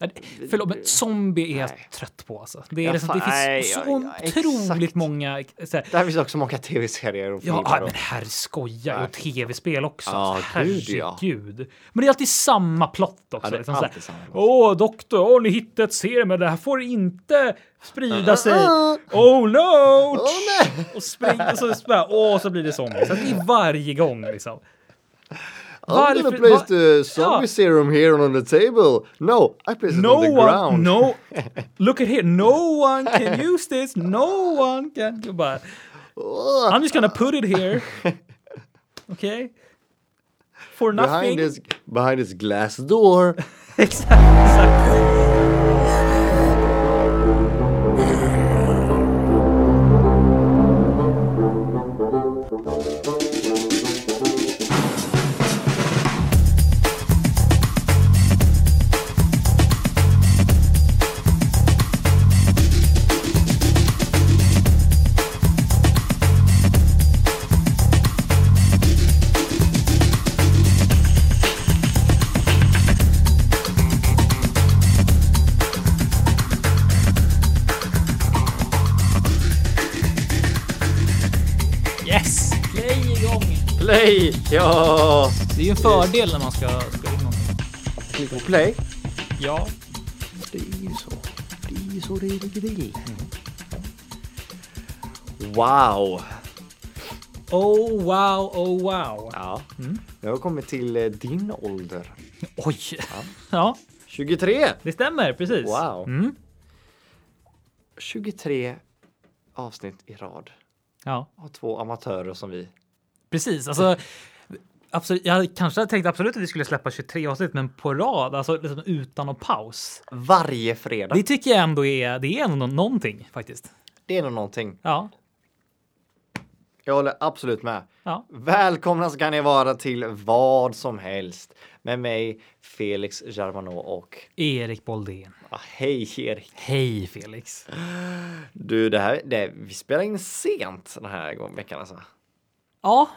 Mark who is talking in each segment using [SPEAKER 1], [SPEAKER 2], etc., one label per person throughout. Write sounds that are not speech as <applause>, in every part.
[SPEAKER 1] Nej, Förlåt, men zombie är jag trött på alltså. Det, är
[SPEAKER 2] Ja,
[SPEAKER 1] liksom, det
[SPEAKER 2] fan,
[SPEAKER 1] finns
[SPEAKER 2] nej,
[SPEAKER 1] så
[SPEAKER 2] ja, ja,
[SPEAKER 1] otroligt
[SPEAKER 2] exakt.
[SPEAKER 1] många... Så här,
[SPEAKER 2] Där finns också många tv-serier
[SPEAKER 1] ja,
[SPEAKER 2] och filmer.
[SPEAKER 1] ah,
[SPEAKER 2] och-
[SPEAKER 1] men här skojar jag.
[SPEAKER 2] Nej.
[SPEAKER 1] Och tv-spel också.
[SPEAKER 2] Ja, gud, ja.
[SPEAKER 1] Herregud. Men det är alltid samma plott också.
[SPEAKER 2] Ja, det är
[SPEAKER 1] liksom, så här,
[SPEAKER 2] alltid samma plott.
[SPEAKER 1] Åh, doktor, åh, ni hittade ett serum, men det här får inte sprida
[SPEAKER 2] Ah,
[SPEAKER 1] sig. Oh no!
[SPEAKER 2] Åh, nej!
[SPEAKER 1] och springer och så spär och så blir det zombie. Så att det är varje gång liksom.
[SPEAKER 2] I'm gonna
[SPEAKER 1] Varför-
[SPEAKER 2] place
[SPEAKER 1] va-
[SPEAKER 2] the zombie
[SPEAKER 1] Ja.
[SPEAKER 2] uh, serum here on the table. No, I place it on the
[SPEAKER 1] No one,
[SPEAKER 2] ground.
[SPEAKER 1] no,
[SPEAKER 2] <laughs>
[SPEAKER 1] look at here, no one can use this, no one can. Jag Bara,
[SPEAKER 2] Ugh.
[SPEAKER 1] I'm just gonna put it
[SPEAKER 2] <laughs>
[SPEAKER 1] here. Okay? For nothing. <laughs>
[SPEAKER 2] behind this, behind this glass door.
[SPEAKER 1] Exakt, exakt. Yes! Play igång!
[SPEAKER 2] Play! Ja!
[SPEAKER 1] Det är ju en fördel när man ska spela in någonting.
[SPEAKER 2] Klicka på play.
[SPEAKER 1] Ja.
[SPEAKER 2] Det är ju så. Det är ju så det ligger till. Mm. Wow!
[SPEAKER 1] Oh wow, oh wow.
[SPEAKER 2] Ja.
[SPEAKER 1] Mm.
[SPEAKER 2] Nu har vi kommit till eh, din ålder.
[SPEAKER 1] Oj! <laughs> Ja,
[SPEAKER 2] 23!
[SPEAKER 1] det stämmer precis.
[SPEAKER 2] Wow.
[SPEAKER 1] Mm.
[SPEAKER 2] 23 avsnitt i rad
[SPEAKER 1] Ja.
[SPEAKER 2] av två amatörer som vi.
[SPEAKER 1] Precis, alltså. Absolut, jag hade kanske hade tänkt absolut att vi skulle släppa 23 avsnitt, men på rad, alltså liksom utan någon paus.
[SPEAKER 2] Varje fredag.
[SPEAKER 1] Det tycker jag ändå är, det är ändå nå- någonting faktiskt.
[SPEAKER 2] Det är nog någonting.
[SPEAKER 1] Ja,
[SPEAKER 2] Jag håller absolut med.
[SPEAKER 1] ja,
[SPEAKER 2] Välkomna ska ni vara till vad som helst med mig Felix Germano och
[SPEAKER 1] Erik Boldén.
[SPEAKER 2] ah, hej Erik.
[SPEAKER 1] Hej Felix.
[SPEAKER 2] Du, det här, det, vi spelar in sent den här gången veckan alltså.
[SPEAKER 1] Ja,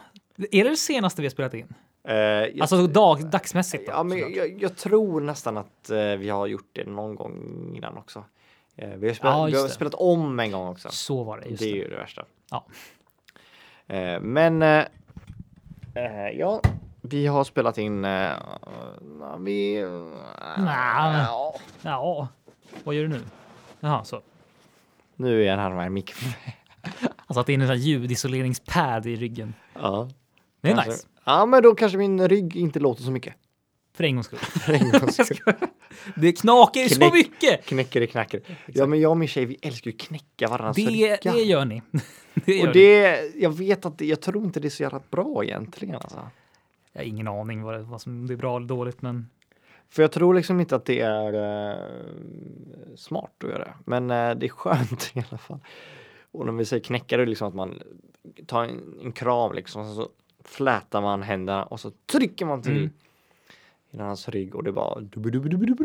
[SPEAKER 1] är det det senaste vi har spelat in?
[SPEAKER 2] Eh, jag,
[SPEAKER 1] Alltså dag, dagsmässigt? Då,
[SPEAKER 2] ja, men
[SPEAKER 1] såklart.
[SPEAKER 2] jag, jag tror nästan att eh, vi har gjort det någon gång innan också. Eh, vi har, spelat,
[SPEAKER 1] Ja,
[SPEAKER 2] vi
[SPEAKER 1] just
[SPEAKER 2] har
[SPEAKER 1] det.
[SPEAKER 2] spelat om en gång också.
[SPEAKER 1] Så var det. Just
[SPEAKER 2] det är
[SPEAKER 1] det.
[SPEAKER 2] ju det värsta.
[SPEAKER 1] Ja.
[SPEAKER 2] Eh, men eh, eh, ja, vi har spelat in. Eh, na, vi, eh,
[SPEAKER 1] Nja.
[SPEAKER 2] ja.
[SPEAKER 1] ja, vad gör du nu? Jaha, så.
[SPEAKER 2] Nu är han här med <laughs> mikrofon.
[SPEAKER 1] Han satte in en sån här ljudisoleringspad i ryggen.
[SPEAKER 2] Ja.
[SPEAKER 1] Det är
[SPEAKER 2] Kanske-
[SPEAKER 1] nice,
[SPEAKER 2] Ja, men då kanske min rygg inte låter så mycket.
[SPEAKER 1] för en gångs skull.
[SPEAKER 2] <laughs> För en gångs skull.
[SPEAKER 1] <laughs> Det knakar ju så
[SPEAKER 2] Knäck.
[SPEAKER 1] mycket!
[SPEAKER 2] knäcker det knacker. Ja, men jag och min tjej, vi älskar ju att knäcka varandras
[SPEAKER 1] Det,
[SPEAKER 2] ryggar.
[SPEAKER 1] det gör ni. <laughs> Det gör
[SPEAKER 2] och
[SPEAKER 1] ni.
[SPEAKER 2] det, jag vet att det, jag tror inte det är så jävla bra egentligen. Alltså.
[SPEAKER 1] Jag har ingen aning vad, det, vad som det är bra eller dåligt, men
[SPEAKER 2] För jag tror liksom inte att det är eh, smart att göra det. Men eh, det är skönt <laughs> i alla fall. Och när vi säger knäcka, det är liksom att man tar en, en kram liksom, och så flätar man händerna och så trycker man till
[SPEAKER 1] Mm.
[SPEAKER 2] i hans rygg och det bara... dubbidubbidubbidubb.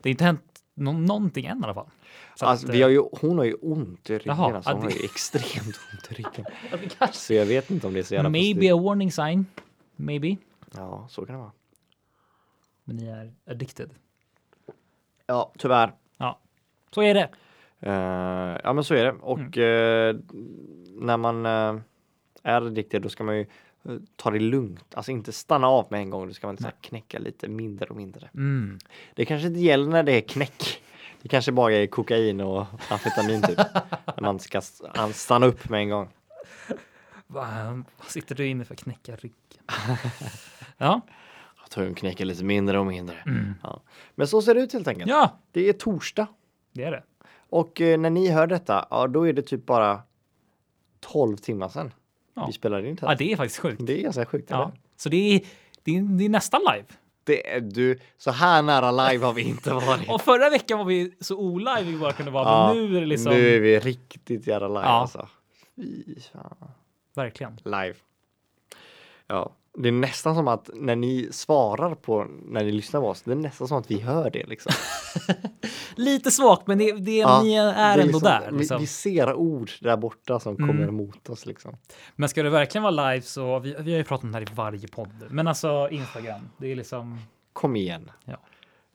[SPEAKER 1] det har inte hänt nå- någonting än i alla fall. Så
[SPEAKER 2] Alltså,
[SPEAKER 1] att,
[SPEAKER 2] vi
[SPEAKER 1] eh,
[SPEAKER 2] har ju, hon har ju ont i ryggen.
[SPEAKER 1] Jaha,
[SPEAKER 2] alltså,
[SPEAKER 1] ja,
[SPEAKER 2] hon
[SPEAKER 1] det-
[SPEAKER 2] har ju extremt <laughs> ont i ryggen. Så jag vet inte om det är så jävla
[SPEAKER 1] Maybe
[SPEAKER 2] positivt.
[SPEAKER 1] a warning sign. Maybe.
[SPEAKER 2] Ja, så kan det vara.
[SPEAKER 1] Men ni är addicted.
[SPEAKER 2] Ja, tyvärr.
[SPEAKER 1] Ja, så är det.
[SPEAKER 2] Eh, ja, men så är det.
[SPEAKER 1] Mm.
[SPEAKER 2] Och eh, när man eh, är addicted då ska man ju eh, ta det lugnt. Alltså inte stanna av med en gång. Då ska man inte så här knäcka lite mindre och mindre.
[SPEAKER 1] Mm.
[SPEAKER 2] Det kanske inte gäller när det är knäck. Det kanske bara är kokain och
[SPEAKER 1] <laughs>
[SPEAKER 2] amfetamin typ. när man ska s- an- stanna upp med en gång.
[SPEAKER 1] Va, vad sitter du inne för? Knäcka
[SPEAKER 2] <laughs>
[SPEAKER 1] ryggen. ja.
[SPEAKER 2] Jag tror hon knäcker lite mindre och mindre. Ja. Men så ser det ut helt enkelt.
[SPEAKER 1] Mm. ja,
[SPEAKER 2] Det är torsdag.
[SPEAKER 1] det är det.
[SPEAKER 2] Och eh, när ni hör detta, ja då är det typ bara 12 timmar sedan.
[SPEAKER 1] Ja.
[SPEAKER 2] Vi spelade in det
[SPEAKER 1] Ja,
[SPEAKER 2] här.
[SPEAKER 1] det är faktiskt sjukt.
[SPEAKER 2] Det är ganska sjukt. eller?
[SPEAKER 1] Ja. Så det är, det, är, det är nästan live.
[SPEAKER 2] Det är, du, så här nära live har vi inte varit.
[SPEAKER 1] Och förra veckan var vi så olive vi bara kunde vara,
[SPEAKER 2] Ja,
[SPEAKER 1] men nu är det liksom...
[SPEAKER 2] Nu är vi riktigt jävla live
[SPEAKER 1] Ja.
[SPEAKER 2] alltså. Fy fan.
[SPEAKER 1] Verkligen.
[SPEAKER 2] Live. Ja, det är nästan som att när ni svarar på när ni lyssnar på oss, det är nästan som att vi hör det liksom.
[SPEAKER 1] Lite svagt, men det, det,
[SPEAKER 2] Ja,
[SPEAKER 1] ni är,
[SPEAKER 2] det
[SPEAKER 1] ändå
[SPEAKER 2] liksom,
[SPEAKER 1] där.
[SPEAKER 2] vi-
[SPEAKER 1] Liksom. Mm.
[SPEAKER 2] Vi, ser ord där borta som kommer emot oss liksom.
[SPEAKER 1] Men ska det verkligen vara live så, vi, vi har ju pratat om det här i varje podd, men alltså Instagram, det är liksom,
[SPEAKER 2] Kom igen.
[SPEAKER 1] Ja.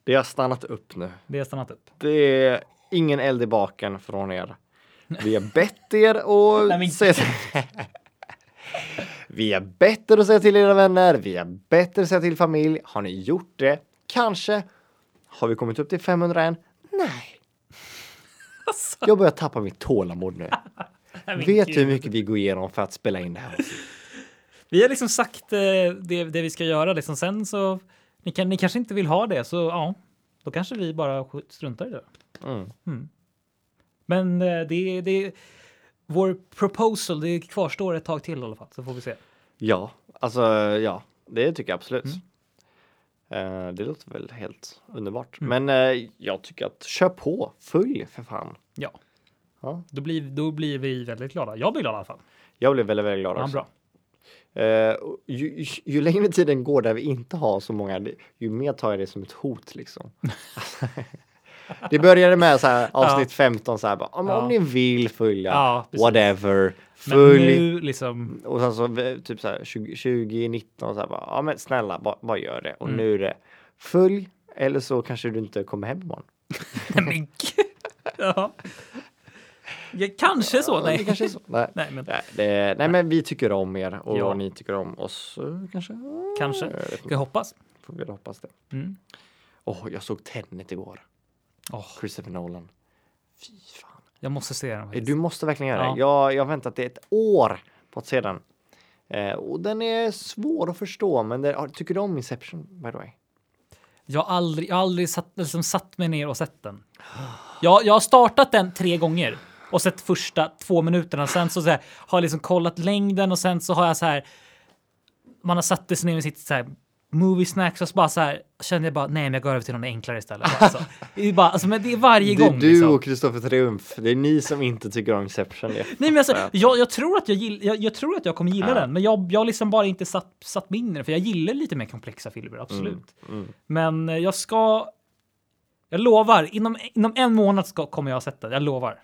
[SPEAKER 2] Det har stannat upp nu.
[SPEAKER 1] Det har stannat upp.
[SPEAKER 2] Det är ingen eld i baken från er. Vi har bett er och
[SPEAKER 1] <laughs> Nej, men-
[SPEAKER 2] säga <laughs> Vi har bett er att säga till era vänner. Vi har bett er att säga till familj. Har ni gjort det? Kanske. Har vi kommit upp till 500 än?
[SPEAKER 1] <laughs>
[SPEAKER 2] Nej.
[SPEAKER 1] Alltså.
[SPEAKER 2] Jag börjar tappa mitt
[SPEAKER 1] <laughs>
[SPEAKER 2] tålamod nu. Vet du hur mycket vi går igenom för att spela in det här?
[SPEAKER 1] Vi har liksom sagt eh, det, det vi ska göra. Liksom. Sen så, ni, kan, ni kanske inte vill ha det, så ja, då kanske vi bara sk- struntar i det.
[SPEAKER 2] Mm.
[SPEAKER 1] Men eh, det, det, vår proposal, det kvarstår ett tag till i alla fall, så får vi se.
[SPEAKER 2] Ja, alltså ja, det tycker jag absolut.
[SPEAKER 1] Mm.
[SPEAKER 2] Eh, det låter väl helt underbart. Men eh, jag tycker att kör på, följ för fan.
[SPEAKER 1] Ja,
[SPEAKER 2] Ja.
[SPEAKER 1] då blir, då blir vi väldigt glada. Jag blir glad i alla fall.
[SPEAKER 2] Jag blev väldigt, väldigt glad
[SPEAKER 1] Ja,
[SPEAKER 2] också.
[SPEAKER 1] bra.
[SPEAKER 2] Eh, och ju, ju, ju längre tiden går där vi inte har så många, det- ju mer tar jag det som ett
[SPEAKER 1] <laughs>
[SPEAKER 2] hot liksom. det började med så här, avsnitt 15, så här, bara, om,
[SPEAKER 1] Ja.
[SPEAKER 2] om ni vill följa,
[SPEAKER 1] Ja, precis.
[SPEAKER 2] whatever,
[SPEAKER 1] Men
[SPEAKER 2] följ.
[SPEAKER 1] nu liksom, <laughs>
[SPEAKER 2] Och sen så v- typ så här 20, 2019 så här bara, ja men snälla, bara, bara gör det. Och
[SPEAKER 1] Mm.
[SPEAKER 2] nu är det följ eller så kanske du inte kommer hem imorgon.
[SPEAKER 1] nej men gud. ja. Ja, Kanske så,
[SPEAKER 2] Det
[SPEAKER 1] nej.
[SPEAKER 2] kanske är så. Nej.
[SPEAKER 1] <laughs> Nej, men
[SPEAKER 2] Nej, det, nej men vi tycker om er och
[SPEAKER 1] Ja.
[SPEAKER 2] ni tycker om oss eh, kanske.
[SPEAKER 1] kanske.
[SPEAKER 2] Jag vet inte.
[SPEAKER 1] Ska jag hoppas.
[SPEAKER 2] Får väl hoppas det.
[SPEAKER 1] Mm.
[SPEAKER 2] Åh, jag såg Tenet igår.
[SPEAKER 1] Åh.
[SPEAKER 2] Christopher Nolan. Fy fan.
[SPEAKER 1] Jag måste se den.
[SPEAKER 2] Eh, Du måste verkligen göra
[SPEAKER 1] Ja.
[SPEAKER 2] det. Jag, jag har väntat i ett år på att se den. Eh, och den är svår att förstå, men det, ja, tycker du om Inception by the way?
[SPEAKER 1] Jag har aldrig, jag har aldrig satt, liksom satt mig ner och sett den. Jag, jag har startat den tre gånger och sett första två minuterna. Sen så, så här, har jag liksom kollat längden och sen så har jag så här. Man har satt sig ner med sitt så här movie snacks och så bara så här kände jag bara nej, men jag går över till någon enklare istället. Alltså, det är bara, alltså, men det är varje
[SPEAKER 2] Det är
[SPEAKER 1] gång.
[SPEAKER 2] du
[SPEAKER 1] liksom.
[SPEAKER 2] och Kristoffer Triumf. Det är ni som inte tycker om Inception. Det.
[SPEAKER 1] Nej, men alltså,
[SPEAKER 2] Ja.
[SPEAKER 1] jag, jag, tror att jag, gill, jag, jag tror att jag kommer gilla
[SPEAKER 2] Ja.
[SPEAKER 1] den, men jag jag har liksom bara inte satt, satt mig in i den, för jag gillar lite mer komplexa filmer, absolut.
[SPEAKER 2] Mm,
[SPEAKER 1] Men eh, jag ska... Jag lovar, inom, inom en månad ska, kommer jag ha sett den. Jag lovar.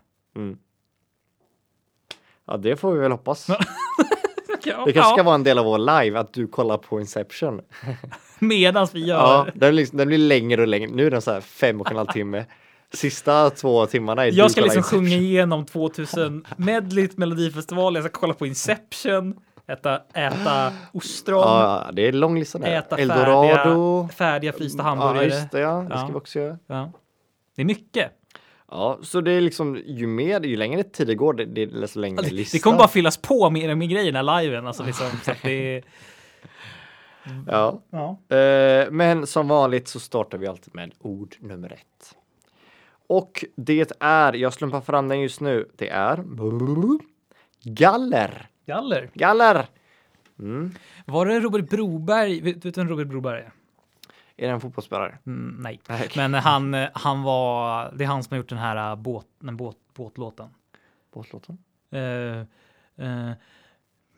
[SPEAKER 2] Ja, det får vi väl hoppas.
[SPEAKER 1] Ja,
[SPEAKER 2] Det kanske ska vara en del av vår live, att du kollar på Inception.
[SPEAKER 1] Medans vi gör...
[SPEAKER 2] Ja, den, liksom, den blir längre och längre. Nu är den så här fem och en halv timme. Sista två timmarna är du
[SPEAKER 1] jag ska
[SPEAKER 2] kollar
[SPEAKER 1] liksom
[SPEAKER 2] Inception.
[SPEAKER 1] sjunga igenom 2000 medligt Melodifestivalen. Jag ska kolla på Inception, äta, äta ostron,
[SPEAKER 2] Ja, ja, det är en lång lista där.
[SPEAKER 1] äta
[SPEAKER 2] Eldorado.
[SPEAKER 1] färdiga, färdiga frysta
[SPEAKER 2] Ja,
[SPEAKER 1] hamburgare.
[SPEAKER 2] just det, ja. Det ska
[SPEAKER 1] Ja.
[SPEAKER 2] vi också göra.
[SPEAKER 1] Ja. Det är mycket.
[SPEAKER 2] Ja, så det är liksom ju mer, ju längre tid det går, det, det är desto längre
[SPEAKER 1] Alltså,
[SPEAKER 2] lista.
[SPEAKER 1] det kommer bara fyllas på med, med grejer när liven. Alltså, liksom, så att det,
[SPEAKER 2] Ja.
[SPEAKER 1] ja.
[SPEAKER 2] Eh, men som vanligt så startar vi alltid med ord nummer ett. Och det är, jag slumpar fram den just nu, det är galler.
[SPEAKER 1] Galler.
[SPEAKER 2] Galler! Mm.
[SPEAKER 1] Var det Robert Broberg? Vet vet du vem Robert Broberg är?
[SPEAKER 2] Är det en fotbollsspelare?
[SPEAKER 1] Mm, nej.
[SPEAKER 2] Nej.
[SPEAKER 1] Men han, eh, han var, det är han som har gjort den här eh, båt, den båt, båtlåten.
[SPEAKER 2] Båtlåten?
[SPEAKER 1] Eh, eh,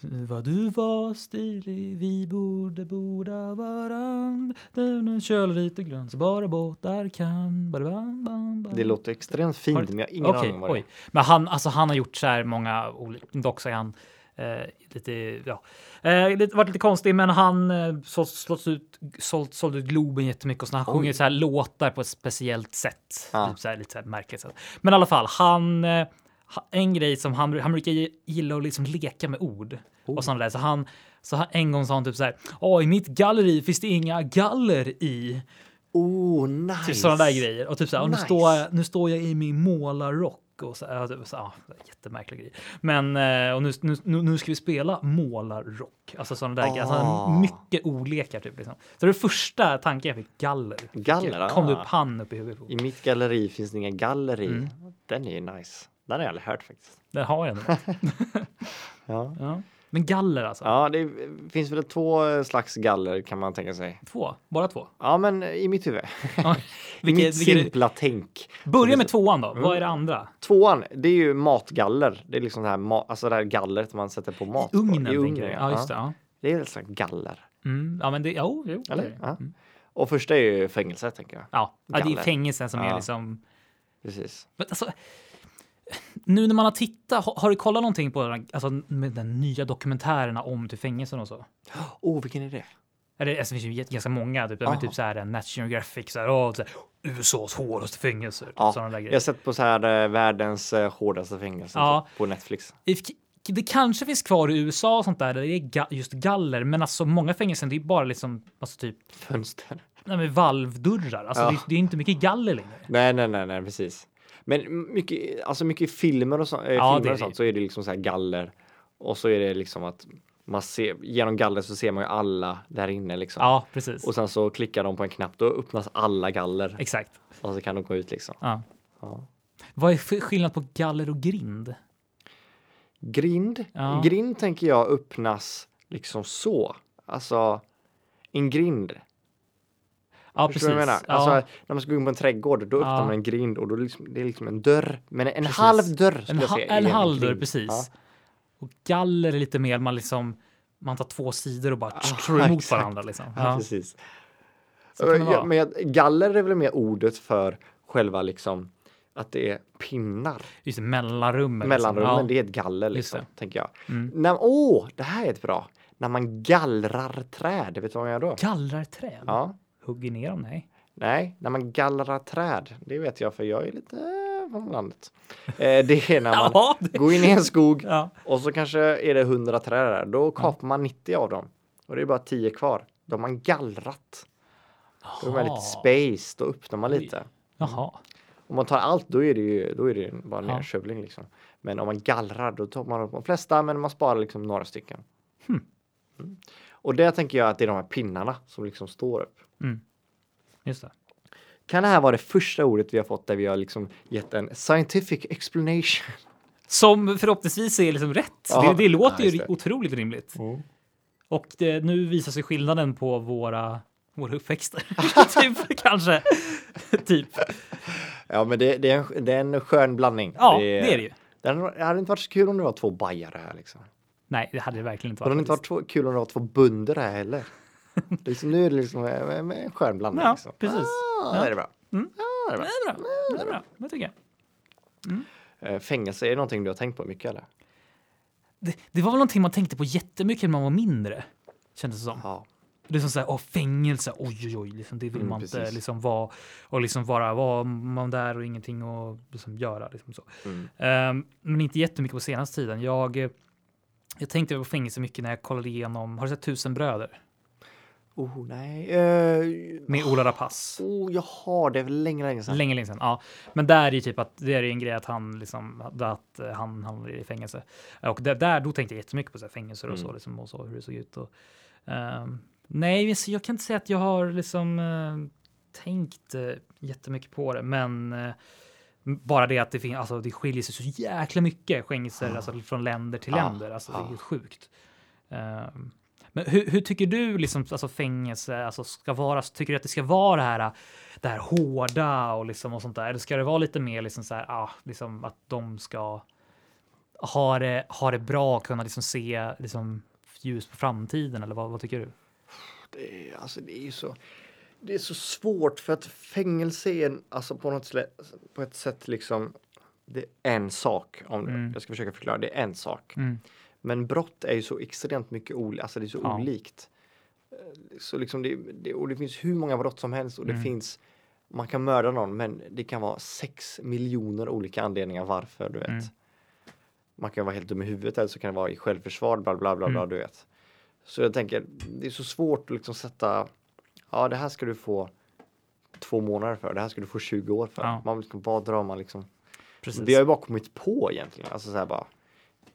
[SPEAKER 1] vad du var stilig, vi borde borda varann. Den köl lite grön så bara båtar kan. Badabam, bam, bam.
[SPEAKER 2] Det låter extremt
[SPEAKER 1] Har
[SPEAKER 2] fint,
[SPEAKER 1] du-
[SPEAKER 2] men jag har ingen
[SPEAKER 1] Okej,
[SPEAKER 2] aning om vad det är.
[SPEAKER 1] oj. Men han, alltså, han har gjort så här många olika, dock så är han eh, lite, ja, eh, lite, varit lite konstig, men han eh, så, sålt ut, sålt, sålt ut Globen jättemycket och så han sjunger så här låtar på ett speciellt sätt.
[SPEAKER 2] Ja.
[SPEAKER 1] Typ så här, lite så här märkligt sätt. Men i alla fall, han, eh, ha- en grej som han, han brukar gi- gilla att liksom leka med ord och sånt där. Så han, så han, en gång sa han typ så här, "Ja, i mitt galleri finns det inga galler i.
[SPEAKER 2] Oh, nice!
[SPEAKER 1] Typ sådana där grejer. Och typ såhär, och nu,
[SPEAKER 2] Nice.
[SPEAKER 1] står jag, nu står jag i min målarrock. Och så, ja, typ så, ja, jättemärklig grej. Men eh, och nu, nu, nu nu ska vi spela målarrock. Alltså sådana där grejer. Alltså,
[SPEAKER 2] Ah.
[SPEAKER 1] mycket olekar typ. Liksom. Så det första tanken jag fick, galler.
[SPEAKER 2] Galler,
[SPEAKER 1] Kom det
[SPEAKER 2] ah.
[SPEAKER 1] upp Mm. han upp i huvudet på.
[SPEAKER 2] I mitt galleri finns det inga galleri. Den är ju nice. Den har jag aldrig hört faktiskt.
[SPEAKER 1] Den har jag nu.
[SPEAKER 2] <laughs> Ja,
[SPEAKER 1] Ja. Men galler alltså.
[SPEAKER 2] ja det finns väl två slags galler kan man tänka sig.
[SPEAKER 1] Två, bara
[SPEAKER 2] <laughs>
[SPEAKER 1] två.
[SPEAKER 2] Ja, men i mitt huvud.
[SPEAKER 1] Ja. Vilket,
[SPEAKER 2] Vilket, <laughs> mitt
[SPEAKER 1] vilket,
[SPEAKER 2] simpla Mm. tänk.
[SPEAKER 1] börja med tvåan då. Vad är det andra?
[SPEAKER 2] Tvåan, det är ju matgaller. Det är liksom det här, ma- alltså det här gallret man sätter på mat. på.
[SPEAKER 1] Ugnen.
[SPEAKER 2] I
[SPEAKER 1] tänker jag. Ja, just det. Ja.
[SPEAKER 2] det. är liksom galler.
[SPEAKER 1] Mm. ja, men det, jo, jo. det är
[SPEAKER 2] Eller?
[SPEAKER 1] det.
[SPEAKER 2] Ja. Och första är ju fängelse, tänker jag.
[SPEAKER 1] Mm. Ja, ja det är
[SPEAKER 2] Galler.
[SPEAKER 1] fängelsen som är
[SPEAKER 2] Ja.
[SPEAKER 1] liksom
[SPEAKER 2] Precis.
[SPEAKER 1] Men alltså, nu när man har tittat, har, har du kollat någonting på den, alltså, med den nya dokumentärerna om till fängelsen typ och så?
[SPEAKER 2] Åh, oh, vilken är det?
[SPEAKER 1] Eller alltså, det finns ju jätte- ganska många, typ, de är
[SPEAKER 2] Aha.
[SPEAKER 1] typ så här Nat Geographic, så här, åh, så här, USAs hårdaste fängelser.
[SPEAKER 2] Ja,
[SPEAKER 1] Sådana där grejer.
[SPEAKER 2] jag har sett på så här eh, världens eh, hårdaste fängelse
[SPEAKER 1] Ja.
[SPEAKER 2] på Netflix.
[SPEAKER 1] If- Det kanske finns kvar i USA och sånt där, där det är ga- just galler, men alltså många fängelser, det är bara liksom alltså typ
[SPEAKER 2] Fönster.
[SPEAKER 1] nej, men valvdörrar. Alltså
[SPEAKER 2] Ja.
[SPEAKER 1] det, det är inte mycket galler längre.
[SPEAKER 2] Nej, nej, nej, nej, precis. Men mycket, alltså mycket filmer och, så, eh,
[SPEAKER 1] Ja, det
[SPEAKER 2] filmer
[SPEAKER 1] är
[SPEAKER 2] och sånt
[SPEAKER 1] det.
[SPEAKER 2] så är det liksom så här galler. Och så är det liksom att man ser, genom galler så ser man ju alla där inne liksom.
[SPEAKER 1] Ja, precis.
[SPEAKER 2] Och sen så klickar de på en knapp, då öppnas alla galler.
[SPEAKER 1] Exakt.
[SPEAKER 2] Och så kan de gå ut liksom.
[SPEAKER 1] Ja.
[SPEAKER 2] Ja.
[SPEAKER 1] Vad är sk- skillnad på galler och grind?
[SPEAKER 2] Grind.
[SPEAKER 1] Ja.
[SPEAKER 2] Grind tänker jag öppnas liksom så. Alltså, en grind.
[SPEAKER 1] Ja,
[SPEAKER 2] Förstår du vad jag menar?
[SPEAKER 1] precis. Ja,
[SPEAKER 2] Alltså, när man ska gå in på en trädgård, då öppnar
[SPEAKER 1] Ja.
[SPEAKER 2] man en grind och då liksom, det är liksom en dörr. Men en
[SPEAKER 1] Precis.
[SPEAKER 2] halv dörr
[SPEAKER 1] en
[SPEAKER 2] skulle jag
[SPEAKER 1] ha,
[SPEAKER 2] säga.
[SPEAKER 1] en
[SPEAKER 2] är
[SPEAKER 1] halv dörr,
[SPEAKER 2] grind.
[SPEAKER 1] precis.
[SPEAKER 2] Ja.
[SPEAKER 1] Och galler är lite mer man liksom man tar två sidor och bara
[SPEAKER 2] Ja,
[SPEAKER 1] tror emot
[SPEAKER 2] Ah, exakt.
[SPEAKER 1] varandra liksom.
[SPEAKER 2] Ja,
[SPEAKER 1] Ja.
[SPEAKER 2] precis.
[SPEAKER 1] Så kan det
[SPEAKER 2] Ja,
[SPEAKER 1] vara.
[SPEAKER 2] men jag- galler är väl mer ordet för själva liksom att det är pinnar.
[SPEAKER 1] Just det, mellanrummen.
[SPEAKER 2] Mellanrummen,
[SPEAKER 1] Liksom.
[SPEAKER 2] det är ett galler
[SPEAKER 1] Just
[SPEAKER 2] liksom, tänker jag.
[SPEAKER 1] Ja. Mm.
[SPEAKER 2] När, åh, det här är ett bra. När man gallrar träd, vet du vad man gör då?
[SPEAKER 1] Gallrar träd?
[SPEAKER 2] Ja,
[SPEAKER 1] Hugger ner dem? Nej.
[SPEAKER 2] nej, när man gallrar träd, det vet jag för jag är lite eh, från landet. Eh,
[SPEAKER 1] <laughs>
[SPEAKER 2] det är när man
[SPEAKER 1] Ja, det-
[SPEAKER 2] går in i en skog
[SPEAKER 1] ja.
[SPEAKER 2] Och så kanske är det 100 träd där. Då kapar man 90 av dem. Och det är bara 10 kvar. Då har man gallrat. Då är man lite space, då öppnar man
[SPEAKER 1] Oj.
[SPEAKER 2] lite.
[SPEAKER 1] Jaha.
[SPEAKER 2] Om man tar allt då är det ju då är det ju bara
[SPEAKER 1] Ja.
[SPEAKER 2] nerskövling liksom. Men om man gallrar då tar man upp de flesta men man sparar liksom några stycken.
[SPEAKER 1] Hmm.
[SPEAKER 2] Mm. Och där tänker jag att det är de här pinnarna som liksom står upp.
[SPEAKER 1] Mm. Just det.
[SPEAKER 2] Kan det här vara det första ordet vi har fått där vi har liksom gett en scientific explanation?
[SPEAKER 1] Som förhoppningsvis är liksom rätt.
[SPEAKER 2] Ja.
[SPEAKER 1] Det, det låter
[SPEAKER 2] Ja,
[SPEAKER 1] ju
[SPEAKER 2] just det.
[SPEAKER 1] otroligt rimligt. Och det, nu visar sig skillnaden på våra, våra
[SPEAKER 2] <laughs>
[SPEAKER 1] uppväxter. <laughs> typ kanske. typ.
[SPEAKER 2] <laughs> Ja men det, det, är en, det är en skön blandning.
[SPEAKER 1] Ja, det är det ju.
[SPEAKER 2] Det hade det hade inte varit så kul om det var två bajare här liksom.
[SPEAKER 1] Nej, det hade det verkligen inte
[SPEAKER 2] Det hade
[SPEAKER 1] varit.
[SPEAKER 2] inte varit två, kul om det var två bönder
[SPEAKER 1] <laughs>
[SPEAKER 2] här heller. liksom, nu är det liksom en, en- en skön blandning.
[SPEAKER 1] Ja,
[SPEAKER 2] liksom.
[SPEAKER 1] precis.
[SPEAKER 2] Ah,
[SPEAKER 1] Ja.
[SPEAKER 2] Det är bra.
[SPEAKER 1] Mm.
[SPEAKER 2] Ah, det är bra.
[SPEAKER 1] Det är bra. Det är bra. Det tycker jag.
[SPEAKER 2] Eh, Fängelse, är det någonting du har tänkt på mycket eller?
[SPEAKER 1] Det, det var väl någonting man tänkte på jättemycket när man var mindre. Kändes det som.
[SPEAKER 2] Ja.
[SPEAKER 1] Det är som så här, åh, fängelse, oj oj oj, liksom, det vill
[SPEAKER 2] Mm,
[SPEAKER 1] man inte
[SPEAKER 2] precis.
[SPEAKER 1] liksom vara. Och liksom bara vara man där och ingenting att liksom, göra. Liksom så.
[SPEAKER 2] Mm.
[SPEAKER 1] Ehm, men inte jättemycket på senaste tiden. Jag, eh, jag tänkte på fängelse mycket när jag kollade igenom, har du sett Tusen bröder?
[SPEAKER 2] Oh nej. Eh,
[SPEAKER 1] Med Ola Rapace.
[SPEAKER 2] oh, jag har det är väl länge, länge sedan.
[SPEAKER 1] Länge, länge sedan. Ja. Men där är ju typ att det är ju en grej att han liksom att eh, han hamnar i fängelse. Och där, där då tänkte jag jättemycket på så här fängelser och så
[SPEAKER 2] Mm.
[SPEAKER 1] liksom och så hur det såg ut. Och, ehm, nej, så jag kan inte säga att jag har liksom eh, tänkt eh, jättemycket på det, men eh, m- bara det att det finns, alltså det skiljer sig så jäkla mycket fängelser
[SPEAKER 2] Ah.
[SPEAKER 1] alltså, från länder till
[SPEAKER 2] Ah,
[SPEAKER 1] länder. Alltså det är
[SPEAKER 2] ah.
[SPEAKER 1] helt sjukt. Ehm, men hur, hur tycker du liksom, alltså fängelse alltså ska vara? Tycker du att det ska vara det här, det här hårda och, liksom och sånt där? Eller ska det vara lite mer liksom så här, ah, liksom att de ska ha det, ha det bra och kunna liksom se liksom ljus på framtiden? Eller vad, vad tycker du?
[SPEAKER 2] Det, är- alltså, det är ju så. Det är så svårt för att fängelse är en, alltså på något slä, på ett sätt liksom. Det är en sak om
[SPEAKER 1] Mm.
[SPEAKER 2] jag ska försöka förklara. Det är en sak.
[SPEAKER 1] Mm.
[SPEAKER 2] Men brott är ju så extremt mycket olika, alltså det är så
[SPEAKER 1] Ja.
[SPEAKER 2] olikt. Eh, Så liksom det, det, och det finns hur många brott som helst och det
[SPEAKER 1] Mm.
[SPEAKER 2] finns man kan mörda någon men det kan vara sex miljoner olika anledningar varför du vet.
[SPEAKER 1] Mm.
[SPEAKER 2] Man kan vara helt dum i huvudet eller så kan det vara i självförsvar bla bla bla, bla
[SPEAKER 1] Mm.
[SPEAKER 2] du vet. Så jag tänker det är så svårt att liksom sätta ja det här ska du få två månader för, det här ska du få 20 år för.
[SPEAKER 1] Ja.
[SPEAKER 2] Man vill liksom, vad drar man liksom
[SPEAKER 1] Precis.
[SPEAKER 2] vi har ju bara kommit på egentligen. Alltså så här bara,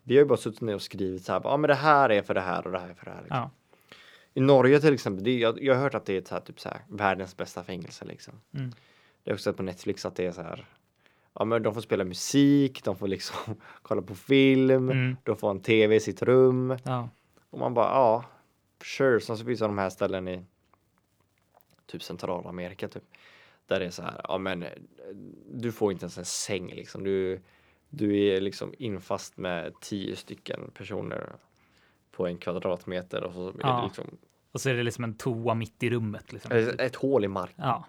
[SPEAKER 2] vi har ju bara suttit ner och skrivit så här. bara, Ja, men det här är för det här och det här är för det här. Liksom.
[SPEAKER 1] ja.
[SPEAKER 2] I Norge till exempel. Det, är- jag, jag har hört att det är så här, typ så här, världens bästa fängelse. Liksom.
[SPEAKER 1] Mm.
[SPEAKER 2] Det är också på Netflix att det är så här. Ja, men de får spela musik, de får liksom <laughs> kolla på film,
[SPEAKER 1] Mm.
[SPEAKER 2] de får en tv i sitt rum.
[SPEAKER 1] Ja.
[SPEAKER 2] Och man bara, ja, sure. Sen så finns det de här ställen i typ Centralamerika typ. Där det är så här, ja men eh, du får inte ens en säng liksom. Du, du är liksom infast med tio stycken personer på en kvadratmeter och så är
[SPEAKER 1] Ja.
[SPEAKER 2] det liksom
[SPEAKER 1] Och så är det liksom en toa mitt i rummet. Liksom.
[SPEAKER 2] ett, ett hål i mark,
[SPEAKER 1] Ja.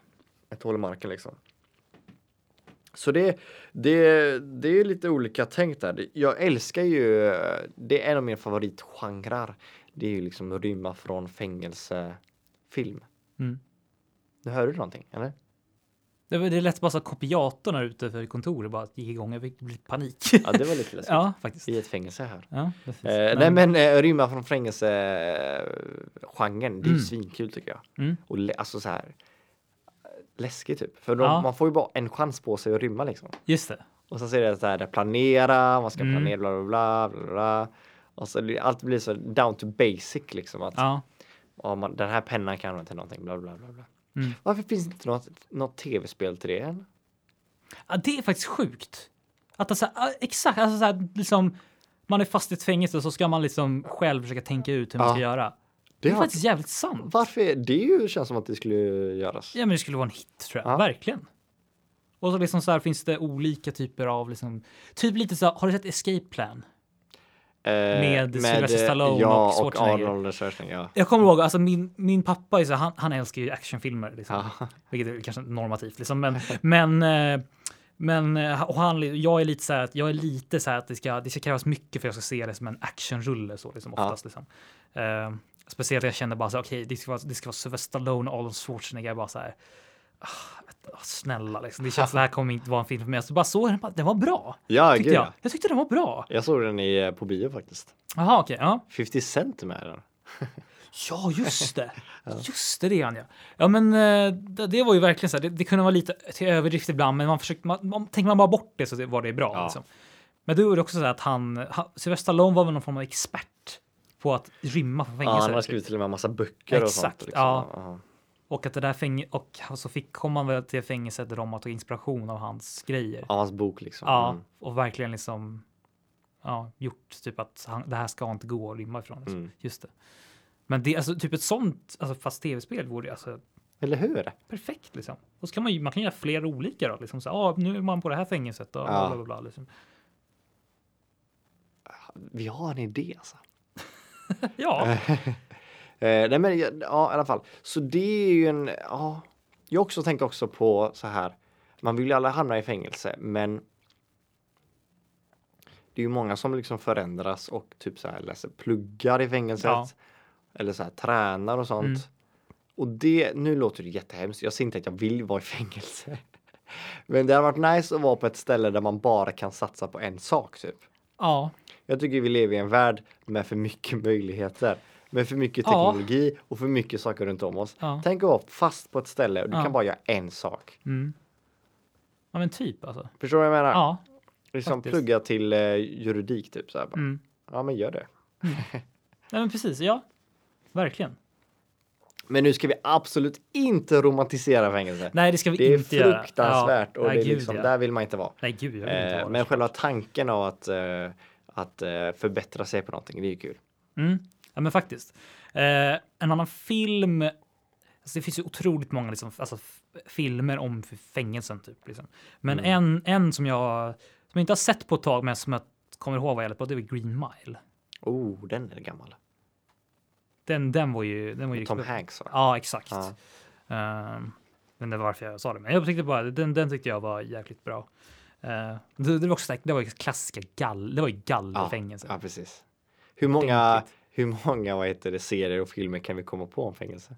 [SPEAKER 2] ett hål i marken liksom. Så det, det, det är lite olika tänkt där. Det- Jag älskar ju, eh, det är en av mina favoritgenrer. Det är ju liksom rymma från fängelse film.
[SPEAKER 1] Mm.
[SPEAKER 2] Nu hör du någonting, eller?
[SPEAKER 1] Det, var- det lät bara så att kopiatorn här ute för kontoret bara gick igång. Jag fick bli panik.
[SPEAKER 2] Ja, det var lite läskigt.
[SPEAKER 1] <laughs> ja, faktiskt.
[SPEAKER 2] I ett fängelse här.
[SPEAKER 1] Ja, precis.
[SPEAKER 2] Eh, nej men eh, rymma från fängelse-genren, det är ju svinkul tycker jag.
[SPEAKER 1] Mm.
[SPEAKER 2] Och lä- alltså så här läskigt typ. För de,
[SPEAKER 1] Ja.
[SPEAKER 2] man får ju bara en chans på sig att rymma liksom.
[SPEAKER 1] Just det.
[SPEAKER 2] Och sen så är det så här, det planera, man ska
[SPEAKER 1] Mm.
[SPEAKER 2] planera, bla bla bla. bla, bla. Och så det- allt blir så down to basic liksom. Att
[SPEAKER 1] Ja.
[SPEAKER 2] ja, man, den här pennan kan man till någonting, bla bla bla. bla.
[SPEAKER 1] Mm.
[SPEAKER 2] Varför finns det inte något, något tv-spel till det än?
[SPEAKER 1] Ja, det är faktiskt sjukt. Att alltså, ja, exakt, alltså så här, liksom, man är fast i ett fängelse och så ska man liksom själv försöka tänka ut hur man
[SPEAKER 2] Ja.
[SPEAKER 1] ska göra. Det
[SPEAKER 2] Det
[SPEAKER 1] är
[SPEAKER 2] har-
[SPEAKER 1] faktiskt jävligt sant.
[SPEAKER 2] Varför? är- Det är ju, känns som att det skulle göras.
[SPEAKER 1] Ja, men det skulle vara en hit tror jag.
[SPEAKER 2] Ja.
[SPEAKER 1] Verkligen. Och så liksom så här finns det olika typer av liksom, typ lite så här, har du sett Escape Plan?
[SPEAKER 2] Eh,
[SPEAKER 1] Med Sylvester
[SPEAKER 2] eh,
[SPEAKER 1] Stallone
[SPEAKER 2] ja,
[SPEAKER 1] och Schwarzenegger.
[SPEAKER 2] Arnold Schwarzenegger. Ja.
[SPEAKER 1] Jag kommer ihåg, alltså min, min pappa är så här, han, han älskar ju actionfilmer, liksom,
[SPEAKER 2] Ja.
[SPEAKER 1] vilket är kanske normativt liksom, men, men, eh, men eh, och han, jag är lite så här att jag är lite så här att det ska, det ska krävas mycket för att jag ska se det som en actionrulle så liksom
[SPEAKER 2] Ja.
[SPEAKER 1] oftast liksom. Eh, speciellt jag känner bara så här, okej, det ska vara, det ska vara Sylvester Stallone och Arnold Schwarzenegger bara så här. Ah, vet- ah, snälla liksom, det känns det här kommer inte vara en film för mig. Så bara såg den, bara, den var bra.
[SPEAKER 2] Ja,
[SPEAKER 1] Tyckte
[SPEAKER 2] gud
[SPEAKER 1] jag.
[SPEAKER 2] ja.
[SPEAKER 1] jag tyckte den var bra.
[SPEAKER 2] Jag såg den i, eh, på bio faktiskt.
[SPEAKER 1] Jaha, okej. ja.
[SPEAKER 2] 50 Cent är med i den.
[SPEAKER 1] Ja, just
[SPEAKER 2] <laughs>
[SPEAKER 1] det. Just det, det är han ja. Ja, men eh, det, det var ju verkligen så här. Det, det kunde vara lite till överdrift ibland, men man försökte. Man, man, tänker man bara bort det så det, var det bra.
[SPEAKER 2] Ja.
[SPEAKER 1] Liksom. Men då var det också så här att han, han Sylvester Stallone var väl någon form av expert på att rymma från
[SPEAKER 2] Ja,
[SPEAKER 1] fängelser.
[SPEAKER 2] han har skrivit till och med en massa böcker och sånt. liksom.
[SPEAKER 1] Exakt, ja.
[SPEAKER 2] Ja.
[SPEAKER 1] Och att det där fäng- och så fick kom han väl till fängelset där de tog inspiration av hans grejer.
[SPEAKER 2] Ja, hans bok liksom.
[SPEAKER 1] Ja,
[SPEAKER 2] Mm.
[SPEAKER 1] och verkligen liksom ja, gjort typ att han, det här ska inte gå att rymma ifrån. Liksom.
[SPEAKER 2] Mm.
[SPEAKER 1] Just det. Men det alltså typ ett sånt, alltså fast tv-spel vore ju alltså
[SPEAKER 2] Eller hur?
[SPEAKER 1] perfekt liksom. Och så kan man ju, man kan göra flera olika då, liksom så här, ah, nu är man på det här fängelset och bla
[SPEAKER 2] Ja.
[SPEAKER 1] bla bla. bla liksom.
[SPEAKER 2] Vi har en idé alltså.
[SPEAKER 1] Ja,
[SPEAKER 2] Eh, nej men ja, ja, i alla fall. Så det är ju en, ja. Jag också tänker också på så här. Man vill ju alla hamna i fängelse, men det är ju många som liksom förändras och typ så här läser pluggar i fängelset.
[SPEAKER 1] Ja.
[SPEAKER 2] Eller så här tränar och sånt.
[SPEAKER 1] Mm.
[SPEAKER 2] Och det, nu låter det jättehemskt. Jag ser inte att jag vill vara i fängelse. <laughs> Men det har varit nice att vara på ett ställe där man bara kan satsa på en sak typ.
[SPEAKER 1] ja,
[SPEAKER 2] Jag tycker vi lever i en värld med för mycket möjligheter. Med för mycket
[SPEAKER 1] Ja.
[SPEAKER 2] teknologi och för mycket saker runt om oss.
[SPEAKER 1] Ja.
[SPEAKER 2] Tänk att vara fast på ett ställe och du
[SPEAKER 1] Ja.
[SPEAKER 2] kan bara göra en sak.
[SPEAKER 1] mm. ja, men typ alltså.
[SPEAKER 2] Förstår du vad jag menar?
[SPEAKER 1] Ja,
[SPEAKER 2] liksom
[SPEAKER 1] faktiskt.
[SPEAKER 2] plugga till eh, juridik typ så här. Bara.
[SPEAKER 1] mm.
[SPEAKER 2] Ja, men gör det.
[SPEAKER 1] Nej, men precis, ja, verkligen.
[SPEAKER 2] Men nu ska vi absolut inte romantisera fängelse.
[SPEAKER 1] Nej, det ska vi
[SPEAKER 2] det är
[SPEAKER 1] inte göra.
[SPEAKER 2] fruktansvärt
[SPEAKER 1] Ja.
[SPEAKER 2] och
[SPEAKER 1] Nej,
[SPEAKER 2] det är
[SPEAKER 1] gud,
[SPEAKER 2] liksom,
[SPEAKER 1] ja.
[SPEAKER 2] där vill man inte vara.
[SPEAKER 1] Nej, gud, jag vill inte
[SPEAKER 2] Eh,
[SPEAKER 1] vara liksom.
[SPEAKER 2] men
[SPEAKER 1] där.
[SPEAKER 2] själva tanken av att, eh, att eh, förbättra sig på någonting, det är ju kul.
[SPEAKER 1] Mm. Ja, men faktiskt. Eh, en annan film. Alltså det finns ju otroligt många liksom, alltså, f- filmer om f- fängelsen. Typ, liksom. Men
[SPEAKER 2] Mm.
[SPEAKER 1] en, en som jag som jag inte har sett på ett tag, men som jag kommer ihåg vad jag på, det var Green Mile.
[SPEAKER 2] Oh, den är gammal.
[SPEAKER 1] Den, den var ju... Den var ju
[SPEAKER 2] Tom Hanks va?
[SPEAKER 1] Ja, exakt.
[SPEAKER 2] Ja.
[SPEAKER 1] Ehm, men det var varför jag sa det. Men jag tyckte bara, den, den tyckte jag var jäkligt bra. Eh, det, det var också så här- det var ju klassiska gall, det var ju gallerfängelse.
[SPEAKER 2] Ja, precis. Hur många,
[SPEAKER 1] Ordentligt.
[SPEAKER 2] hur många vad heter det, serier och filmer kan vi komma på om fängelse?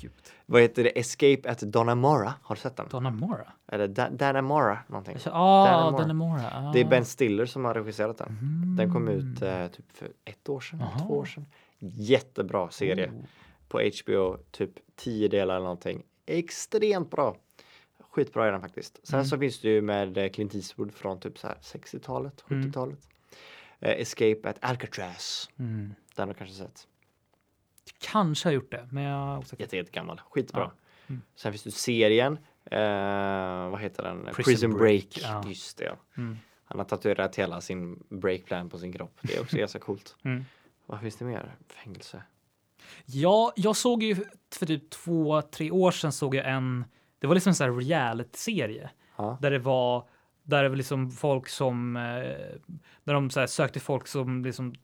[SPEAKER 1] Gud.
[SPEAKER 2] Vad heter det? Escape at Donamora? Har du sett den?
[SPEAKER 1] Donna Mora?
[SPEAKER 2] Eller da- Danamora någonting.
[SPEAKER 1] Ja, ah,
[SPEAKER 2] Donna
[SPEAKER 1] Donna
[SPEAKER 2] Mora.
[SPEAKER 1] Mora. Ah.
[SPEAKER 2] Det är Ben Stiller som har regisserat den. Den kom ut eh, typ för ett år sedan,
[SPEAKER 1] Aha.
[SPEAKER 2] två år sedan. Jättebra serie
[SPEAKER 1] Oh.
[SPEAKER 2] på HBO, typ tio delar eller någonting. Extremt bra. Skitbra är den faktiskt. Sen så finns det ju med eh, Clint Eastwood från typ så här 60-talet, 70-talet. Eh, Escape at Alcatraz.
[SPEAKER 1] Mm.
[SPEAKER 2] Den har du kanske sett.
[SPEAKER 1] Kanske har gjort det, men jag är osäker.
[SPEAKER 2] Jätte, jättegammal. Skitbra.
[SPEAKER 1] Ja. Mm.
[SPEAKER 2] Sen finns det serien. Eh, vad heter den?
[SPEAKER 1] Prison
[SPEAKER 2] Prison,
[SPEAKER 1] Break.
[SPEAKER 2] Break.
[SPEAKER 1] Ja.
[SPEAKER 2] Just det.
[SPEAKER 1] Mm.
[SPEAKER 2] Han har tatuerat hela sin breakplan på sin kropp. Det
[SPEAKER 1] <laughs>
[SPEAKER 2] är också ganska coolt.
[SPEAKER 1] Mm.
[SPEAKER 2] Vad finns det mer? Fängelse?
[SPEAKER 1] Ja, jag såg ju för typ två, tre år sedan såg jag en. Det var liksom en sån här reality-serie
[SPEAKER 2] Ja.
[SPEAKER 1] där det var där det var liksom folk som eh, där de så här sökte folk som liksom.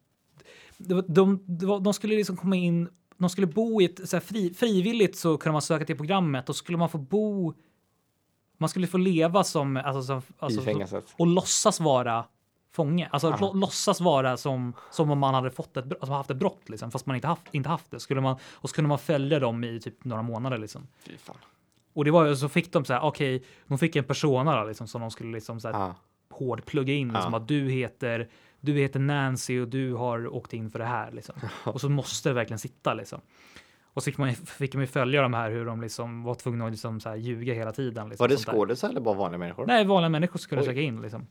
[SPEAKER 1] De, de, det var- de skulle liksom komma in. De skulle bo i ett så här fri, frivilligt så kunde man söka till programmet och skulle man få bo. Man skulle få leva som alltså, som, alltså som-
[SPEAKER 2] I fängelset?
[SPEAKER 1] och låtsas vara fånge. Alltså
[SPEAKER 2] Ja.
[SPEAKER 1] lå- låtsas vara som, som om man hade fått ett, br- alltså, haft ett brott, liksom, fast man inte haft, inte haft det. Skulle man, och så kunde man följa dem i typ några månader. Liksom.
[SPEAKER 2] Fy fan.
[SPEAKER 1] Och det var ju- så fick de så här, okej, de fick en persona då, liksom, som de skulle liksom, så här,
[SPEAKER 2] Ja.
[SPEAKER 1] hårdplugga in. Liksom,
[SPEAKER 2] Ja.
[SPEAKER 1] att du heter, du heter Nancy och du har åkt in för det här.
[SPEAKER 2] <laughs>
[SPEAKER 1] Liksom. Och så måste det verkligen sitta. Liksom. Och så fick man, ju- fick man ju följa de här hur de liksom var tvungna att liksom, så här, ljuga hela tiden. Liksom,
[SPEAKER 2] Var det
[SPEAKER 1] sånt där.
[SPEAKER 2] skådisar eller bara vanliga människor?
[SPEAKER 1] Nej, vanliga människor skulle
[SPEAKER 2] Oj.
[SPEAKER 1] söka in. Liksom.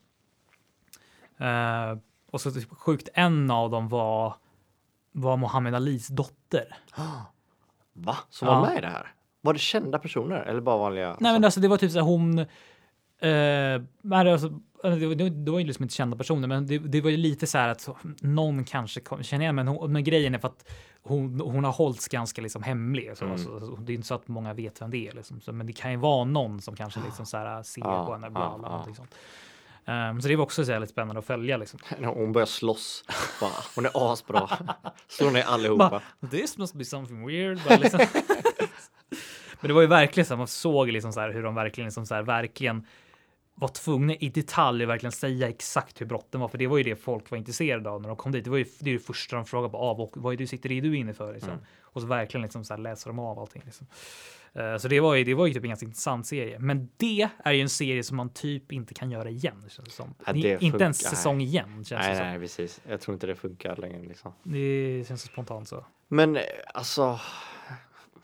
[SPEAKER 1] Eh, och så typ sjukt, en av dem var, var Mohammed Alis dotter.
[SPEAKER 2] Va? Som
[SPEAKER 1] Ja.
[SPEAKER 2] var med i det här? Var det kända personer eller bara vanliga?
[SPEAKER 1] Nej, men alltså, det var typ så här, hon... eh, men alltså, det, var, det var- det var ju liksom inte kända personer, men det, det var ju lite så här att någon kanske kom, känner igen, men, hon, men grejen är för att hon, hon har hållits ganska liksom hemlig. Så,
[SPEAKER 2] Mm.
[SPEAKER 1] alltså, alltså, det är inte så att många vet vem det är, liksom, så, men det kan ju vara någon som kanske liksom så här ser
[SPEAKER 2] Ja,
[SPEAKER 1] på henne. Bla,
[SPEAKER 2] ja,
[SPEAKER 1] bla,
[SPEAKER 2] ja.
[SPEAKER 1] någonting sånt. Eh, så det var också så här lite spännande att följa. Liksom.
[SPEAKER 2] <laughs> Hon börjar slåss. Bara, hon är
[SPEAKER 1] <laughs>
[SPEAKER 2] asbra. Slår ner
[SPEAKER 1] Bara,
[SPEAKER 2] allihopa.
[SPEAKER 1] This must be something weird. Bara
[SPEAKER 2] <laughs>
[SPEAKER 1] liksom. Men det var ju verkligen så här, man såg liksom så här hur de verkligen, liksom så här, verkligen var tvungna i detalj att verkligen säga exakt hur brotten var, för det var ju det folk var intresserade av när de kom dit. Det var ju det, är ju det första de frågade på av och vad är du sitter i du inne för? Liksom.
[SPEAKER 2] Mm.
[SPEAKER 1] Och så verkligen liksom så här läser de av allting. Liksom. Eh, så det var ju. Det var ju typ en ganska intressant serie, men det är ju en serie som man typ inte kan göra igen. Känns det som.
[SPEAKER 2] Ja, det
[SPEAKER 1] Ni- inte
[SPEAKER 2] funkar.
[SPEAKER 1] en säsong igen. Känns det
[SPEAKER 2] Nej,
[SPEAKER 1] som.
[SPEAKER 2] nej, precis. Jag tror inte det funkar längre. Liksom.
[SPEAKER 1] Det känns spontant så.
[SPEAKER 2] Men eh, alltså,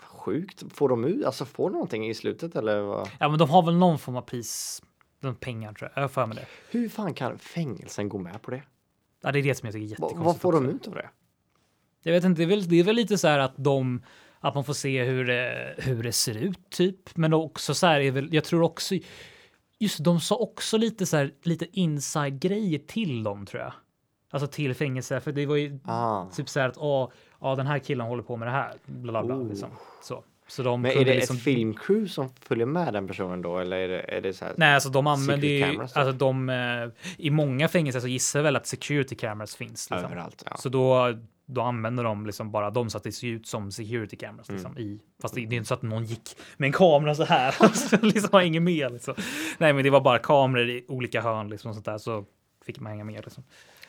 [SPEAKER 2] sjukt. Får de ut, alltså får de någonting i slutet eller? Vad?
[SPEAKER 1] Ja, men de har väl någon form av pris. De pengar tror jag. Jag har för mig det.
[SPEAKER 2] Hur fan kan fängelsen gå med på det?
[SPEAKER 1] Ja, det är det som jag tycker är
[SPEAKER 2] Va,
[SPEAKER 1] jättekonstigt.
[SPEAKER 2] vad får de
[SPEAKER 1] också.
[SPEAKER 2] ut av det?
[SPEAKER 1] Jag vet inte, det är väl, det är väl lite så här att de att man får se hur det, hur det ser ut typ, men också så här är väl. Jag tror också. Just de sa också lite så här lite inside grejer till dem tror jag. Alltså till fängelse, för det var ju
[SPEAKER 2] Ah.
[SPEAKER 1] typ så här att ja, ja, den här killen håller på med det här. Bla, bla, bla,
[SPEAKER 2] Oh.
[SPEAKER 1] liksom. så. så de
[SPEAKER 2] Men är
[SPEAKER 1] kunde
[SPEAKER 2] det
[SPEAKER 1] liksom-
[SPEAKER 2] ett filmcrew som följer med den personen då? Eller är det, är det så här?
[SPEAKER 1] Nej, alltså de använder ju,
[SPEAKER 2] Security cameras, typ.
[SPEAKER 1] alltså de, eh, i många fängelser så gissar jag väl att security cameras finns. Liksom.
[SPEAKER 2] Överallt. Ja.
[SPEAKER 1] Så då, då använder de liksom bara dem så att det ser ut som security cameras.
[SPEAKER 2] Mm.
[SPEAKER 1] Liksom, i, fast det, det är inte så att någon gick med en kamera så här. <laughs> Alltså, liksom har ingen med. Liksom. Nej, men det var bara kameror i olika hörn liksom, och sånt där. Så fick man hänga med. Liksom.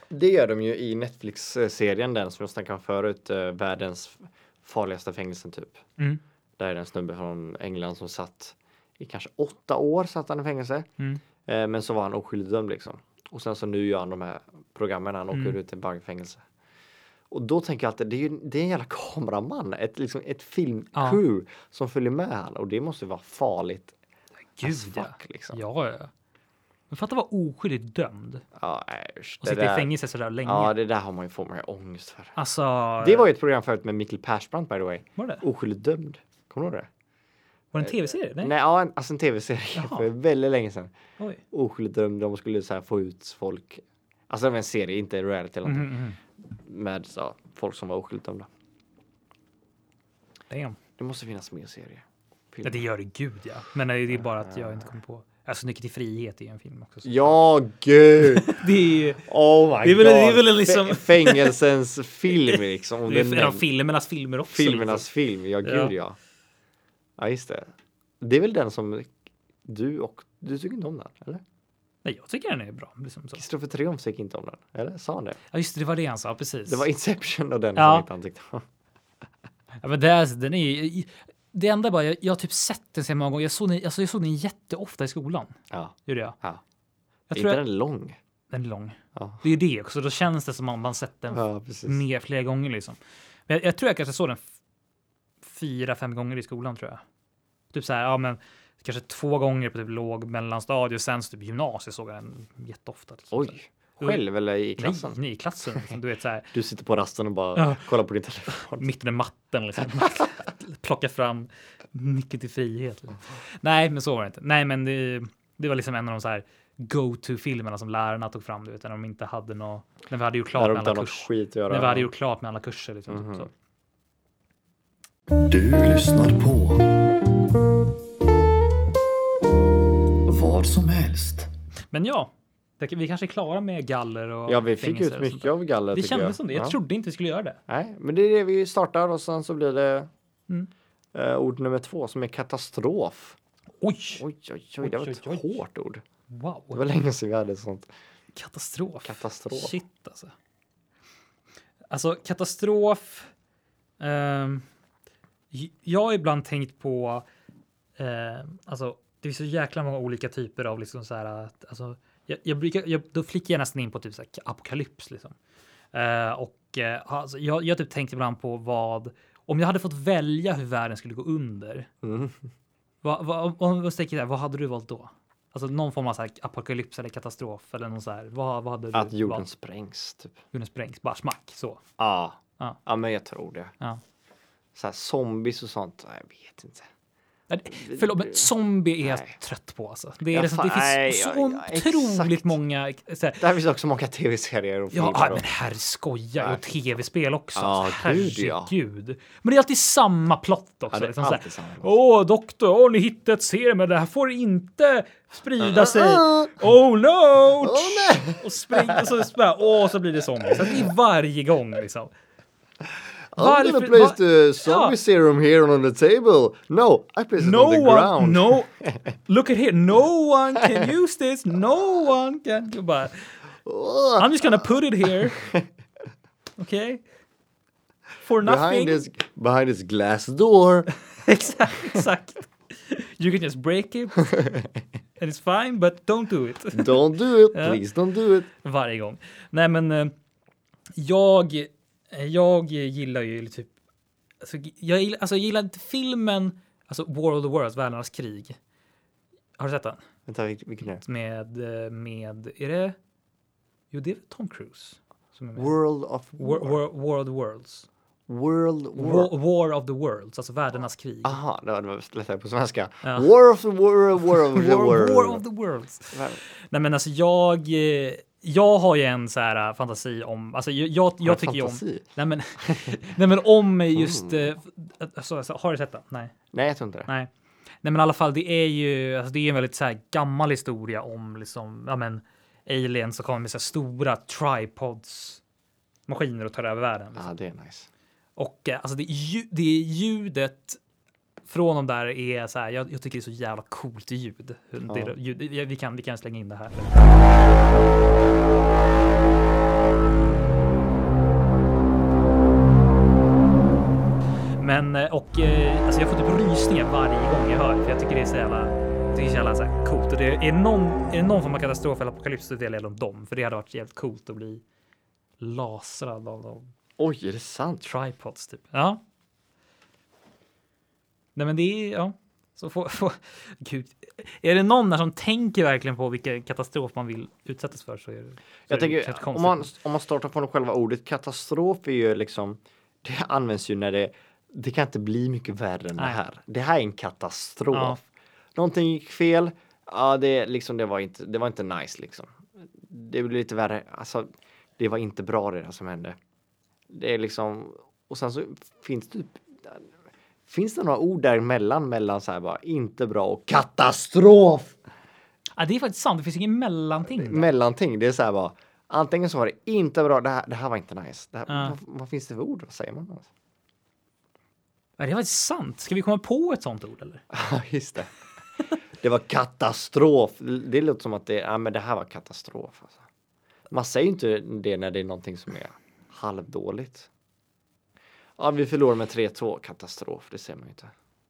[SPEAKER 2] Det gör de ju i Netflix-serien, den som jag snackade om förut, eh, världens farligaste fängelsen typ.
[SPEAKER 1] Mm.
[SPEAKER 2] Där är det en snubbe från England som satt i kanske åtta år satt han i fängelse.
[SPEAKER 1] Mm.
[SPEAKER 2] Eh, men så var han oskyldig dömd liksom. Och sen så nu gör han de här programmen, han åker
[SPEAKER 1] Mm.
[SPEAKER 2] ut i bankfängelse. Och då tänker jag alltid, det är, ju, det är en jävla kameraman, ett, liksom, ett filmcrew som följer med han. Och det måste ju vara farligt
[SPEAKER 1] Gud,
[SPEAKER 2] as
[SPEAKER 1] ja.
[SPEAKER 2] fuck liksom. Ja,
[SPEAKER 1] Alltså, Ja, ja. Men fatta vara oskyldigt dömd
[SPEAKER 2] nej, usch,
[SPEAKER 1] och
[SPEAKER 2] det
[SPEAKER 1] sitta i
[SPEAKER 2] där-
[SPEAKER 1] fängelse så där länge.
[SPEAKER 2] Ja, det där har man ju fått mig ångest för.
[SPEAKER 1] Alltså,
[SPEAKER 2] Det var ju ett program förut med Mikkel Persbrandt by the way.
[SPEAKER 1] var det?
[SPEAKER 2] Oskyldigt dömd. Kommer du ihåg det?
[SPEAKER 1] Var det en tv-serie? Nej.
[SPEAKER 2] Eh, Nej, ja, en, alltså en tv-serie
[SPEAKER 1] Jaha.
[SPEAKER 2] för väldigt länge sedan.
[SPEAKER 1] Oj.
[SPEAKER 2] Oskyldigt dömd, de skulle så här få ut folk. Alltså det var en serie, inte en reality eller
[SPEAKER 1] Mm,
[SPEAKER 2] någonting.
[SPEAKER 1] mm, mm.
[SPEAKER 2] Med så, folk som var oskyldigt dömda.
[SPEAKER 1] Damn.
[SPEAKER 2] Det måste finnas mer serier.
[SPEAKER 1] Ja, det gör det gud ja. Men det är bara att jag inte kommer på. Alltså Nyckeln till frihet är ju en film också. så-
[SPEAKER 2] Ja, gud!
[SPEAKER 1] Det är ju
[SPEAKER 2] Oh my
[SPEAKER 1] Det är väl-
[SPEAKER 2] god!
[SPEAKER 1] det är väl liksom-
[SPEAKER 2] Fä- Fängelsens film liksom. Om
[SPEAKER 1] <laughs> det är
[SPEAKER 2] den
[SPEAKER 1] en av
[SPEAKER 2] nämns.
[SPEAKER 1] filmernas filmer också. liksom.
[SPEAKER 2] Filmernas film, ja gud
[SPEAKER 1] Ja.
[SPEAKER 2] ja. ja. just det. Det är väl den som du och... Du tycker inte om den, eller?
[SPEAKER 1] Liksom. Nej, jag tycker den är bra. Liksom så.
[SPEAKER 2] Kristoffer Triumf tycker inte om den, eller? Sa han det?
[SPEAKER 1] Ja, just det, det var det han sa. Precis.
[SPEAKER 2] Det var Inception och den
[SPEAKER 1] Ja.
[SPEAKER 2] som inte han tyckte om.
[SPEAKER 1] ja, men det, är- den är ju, det enda bara, jag, jag har typ sett den så här många gånger. Jag såg den, alltså, jag såg den jätteofta i skolan.
[SPEAKER 2] Ja.
[SPEAKER 1] Gjorde jag.
[SPEAKER 2] ja.
[SPEAKER 1] jag
[SPEAKER 2] är
[SPEAKER 1] tror
[SPEAKER 2] inte
[SPEAKER 1] jag,
[SPEAKER 2] den lång?
[SPEAKER 1] den är lång.
[SPEAKER 2] Ja.
[SPEAKER 1] Det är ju det också. Då känns det som att man sett den
[SPEAKER 2] Ja, precis.
[SPEAKER 1] mer flera gånger liksom. Men jag, jag tror jag kanske såg den f- fyra, fem gånger i skolan tror jag. Typ så här, ja men kanske två gånger på typ låg mellanstadie och sen så typ gymnasiet såg jag den jätteofta. Liksom.
[SPEAKER 2] Oj! Själv eller i
[SPEAKER 1] Nej,
[SPEAKER 2] klassen?
[SPEAKER 1] nej, i klassen. liksom. Du vet så
[SPEAKER 2] <laughs>
[SPEAKER 1] här,
[SPEAKER 2] Du sitter på rasten och bara
[SPEAKER 1] Ja.
[SPEAKER 2] kollar på din telefon.
[SPEAKER 1] mitten i matten liksom. <laughs> Plocka fram nyckeln till frihet. Liksom. Nej, men så var det inte. Nej, men det, det var liksom en av de så här go-to-filmerna som lärarna tog fram, du vet, när de inte hade något, när vi hade gjort klart
[SPEAKER 2] När de
[SPEAKER 1] med
[SPEAKER 2] inte har
[SPEAKER 1] alla
[SPEAKER 2] något
[SPEAKER 1] kurser.
[SPEAKER 2] skit att göra.
[SPEAKER 1] När vi hade gjort klart med alla kurser. Liksom,
[SPEAKER 2] Mhm.
[SPEAKER 1] typ så.
[SPEAKER 3] Du lyssnar på vad som helst.
[SPEAKER 1] Men ja, det, vi kanske är klara med galler och
[SPEAKER 2] Ja, vi fick
[SPEAKER 1] fängelser
[SPEAKER 2] ut
[SPEAKER 1] och sånt
[SPEAKER 2] mycket
[SPEAKER 1] där.
[SPEAKER 2] av galler
[SPEAKER 1] Det
[SPEAKER 2] tycker
[SPEAKER 1] kändes som det. Jag
[SPEAKER 2] Ja.
[SPEAKER 1] trodde inte vi skulle göra det.
[SPEAKER 2] Nej, men det är det vi startar och sen så blir det
[SPEAKER 1] Mm.
[SPEAKER 2] eh, ord nummer två som är katastrof.
[SPEAKER 1] Oj,
[SPEAKER 2] Oj, oj, oj, det var
[SPEAKER 1] Oj,
[SPEAKER 2] ett
[SPEAKER 1] oj, oj.
[SPEAKER 2] hårt ord. Det
[SPEAKER 1] wow.
[SPEAKER 2] var länge sedan vi hade ett sånt.
[SPEAKER 1] Katastrof.
[SPEAKER 2] Katastrof.
[SPEAKER 1] Shit alltså. Alltså katastrof. ehm, j- jag har ibland tänkt på. ehm, alltså, det är så jäkla många olika typer av liksom så här. Att, alltså, jag, jag brukar, jag, då flickar jag nästan in på typ så här apokalyps liksom. Eh, och eh, alltså, jag, jag typ tänkt ibland på vad om jag hade fått välja hur världen skulle gå under.
[SPEAKER 2] Mm.
[SPEAKER 1] Vad, vad, om- om jag tänker där, vad hade du valt då? Alltså någon form av så här apokalyps eller katastrof eller någon så här. Vad, vad hade du
[SPEAKER 2] Att jorden
[SPEAKER 1] valt?
[SPEAKER 2] sprängs typ.
[SPEAKER 1] Jorden sprängs, bara smack så.
[SPEAKER 2] Ja.
[SPEAKER 1] Ja.
[SPEAKER 2] ja, men jag tror det.
[SPEAKER 1] Ja.
[SPEAKER 2] Så här, zombies och sånt. nej, Jag vet inte.
[SPEAKER 1] Nej, Förlåt, men zombie är jag
[SPEAKER 2] Nej.
[SPEAKER 1] trött på alltså. Det, är
[SPEAKER 2] Ja,
[SPEAKER 1] liksom,
[SPEAKER 2] fan,
[SPEAKER 1] det finns
[SPEAKER 2] nej,
[SPEAKER 1] så
[SPEAKER 2] ja, ja,
[SPEAKER 1] otroligt
[SPEAKER 2] exakt.
[SPEAKER 1] många. Så här,
[SPEAKER 2] Där finns också många tv-serier och
[SPEAKER 1] ja,
[SPEAKER 2] filmer.
[SPEAKER 1] ah,
[SPEAKER 2] och-
[SPEAKER 1] men herr skoja
[SPEAKER 2] Nej.
[SPEAKER 1] och tv-spel också.
[SPEAKER 2] Ja,
[SPEAKER 1] alltså,
[SPEAKER 2] gud, ja.
[SPEAKER 1] herregud. Men det är alltid samma plott också.
[SPEAKER 2] Ja, det är
[SPEAKER 1] liksom, så här,
[SPEAKER 2] alltid samma plott.
[SPEAKER 1] Åh, doktor, åh, ni hittade ett serum, men det här får inte sprida sig.
[SPEAKER 2] ah.
[SPEAKER 1] Oh no!
[SPEAKER 2] Åh, nej!
[SPEAKER 1] <laughs> Och springer och så, så bara, åh, så blir det zombies. Så att det är varje gång liksom.
[SPEAKER 2] I'm gonna
[SPEAKER 1] Varför-
[SPEAKER 2] place
[SPEAKER 1] va-
[SPEAKER 2] the zombie
[SPEAKER 1] Ja.
[SPEAKER 2] serum here on the table. No, I place it
[SPEAKER 1] no
[SPEAKER 2] on the
[SPEAKER 1] one,
[SPEAKER 2] ground. <laughs>
[SPEAKER 1] no, look at here, no one can use this, no one can, Jag bara,
[SPEAKER 2] Ugh,
[SPEAKER 1] I'm just gonna put it here, okay? For nothing. <laughs>
[SPEAKER 2] behind, this, behind this glass door.
[SPEAKER 1] exakt, exakt. You can just break it, and it's fine, but don't do it. <laughs>
[SPEAKER 2] Don't do it,
[SPEAKER 1] Ja.
[SPEAKER 2] please don't do it.
[SPEAKER 1] Varje gång. Nej men, eh, jag, jag gillar ju typ, alltså, jag, gillar, alltså, jag gillar inte filmen, alltså War of the Worlds, Världarnas krig. Har du sett den?
[SPEAKER 2] Vänta, vil- vilken är det?
[SPEAKER 1] med, eh, med, är det, jo det är väl Tom Cruise som är med. War,
[SPEAKER 2] World of War.
[SPEAKER 1] War, War, of the Worlds.
[SPEAKER 2] World War.
[SPEAKER 1] War, War of the Worlds, alltså världarnas krig.
[SPEAKER 2] Aha, det var- det var lättare på svenska.
[SPEAKER 1] Ja.
[SPEAKER 2] War of the World, War of
[SPEAKER 1] War,
[SPEAKER 2] the World.
[SPEAKER 1] War of the Worlds. Nej men alltså jag, eh, jag har ju en så här eh, fantasi om, alltså jag, jag, jag tycker ju om,
[SPEAKER 2] fantasi? Mm.
[SPEAKER 1] nej men, <laughs> nej men om just, eh, alltså, alltså, har du sett den? Nej.
[SPEAKER 2] Nej, jag tror inte det.
[SPEAKER 1] Nej. Nej, men i alla fall, det är ju alltså, det är en väldigt så här, gammal historia om liksom, ja, men aliens som kommer med så här, stora tripods maskiner och tar över världen. Liksom.
[SPEAKER 2] ah, det är nice.
[SPEAKER 1] Och eh, alltså, det, lju- det ljudet från de där är så här. Jag, jag tycker det är så jävla coolt ljud. Hur- Det,
[SPEAKER 2] Ja.
[SPEAKER 1] ljud vi, vi, kan, vi kan slänga in det här. Men eh, och eh, alltså jag får typ rysningar varje gång jag hör det, för jag tycker det är så jävla, jag tycker det är så jävla så här coolt. Och det är, någon, är det någon form av katastrof eller apokalyps så delar jag om dem, för det hade varit jävligt coolt att bli lasrad av dem
[SPEAKER 2] Oj, är det sant?
[SPEAKER 1] tripods typ. Ja. Nej, men det är ja. Så få, få, <laughs> gud. Är det någon här som tänker verkligen på vilken katastrof man vill utsättas för så är det. Så
[SPEAKER 2] Jag
[SPEAKER 1] är det rätt
[SPEAKER 2] tänker, om
[SPEAKER 1] konstigt.
[SPEAKER 2] man, om man startar från själva ordet katastrof är ju liksom, det används ju när det, det kan inte bli mycket värre än det
[SPEAKER 1] Nej.
[SPEAKER 2] här. Det här är en katastrof.
[SPEAKER 1] Ja.
[SPEAKER 2] Någonting gick fel, ja det, liksom, det, var inte, det var inte nice liksom. Det blev lite värre, alltså det var inte bra det där som hände. Det är liksom, och sen så finns det typ, finns det några ord däremellan mellan så här bara inte bra och katastrof?
[SPEAKER 1] ja, det är faktiskt sant. Det finns ingen mellanting. där.
[SPEAKER 2] mellanting. Det är så här bara, antingen så var det inte bra, det här, det här var inte nice. Det här,
[SPEAKER 1] Ja.
[SPEAKER 2] vad, vad finns det för ord? Vad säger man?
[SPEAKER 1] <laughs>
[SPEAKER 2] Alltså?
[SPEAKER 1] Ja, det är faktiskt sant. Ska vi komma på ett sånt ord eller?
[SPEAKER 2] Ja, just det. Det var katastrof. Det låter som att det, ja, men det här var katastrof. Alltså. Man säger ju inte det när det är någonting som är halvdåligt. Ja, vi förlorar med 3-2. Katastrof, det ser man ju inte.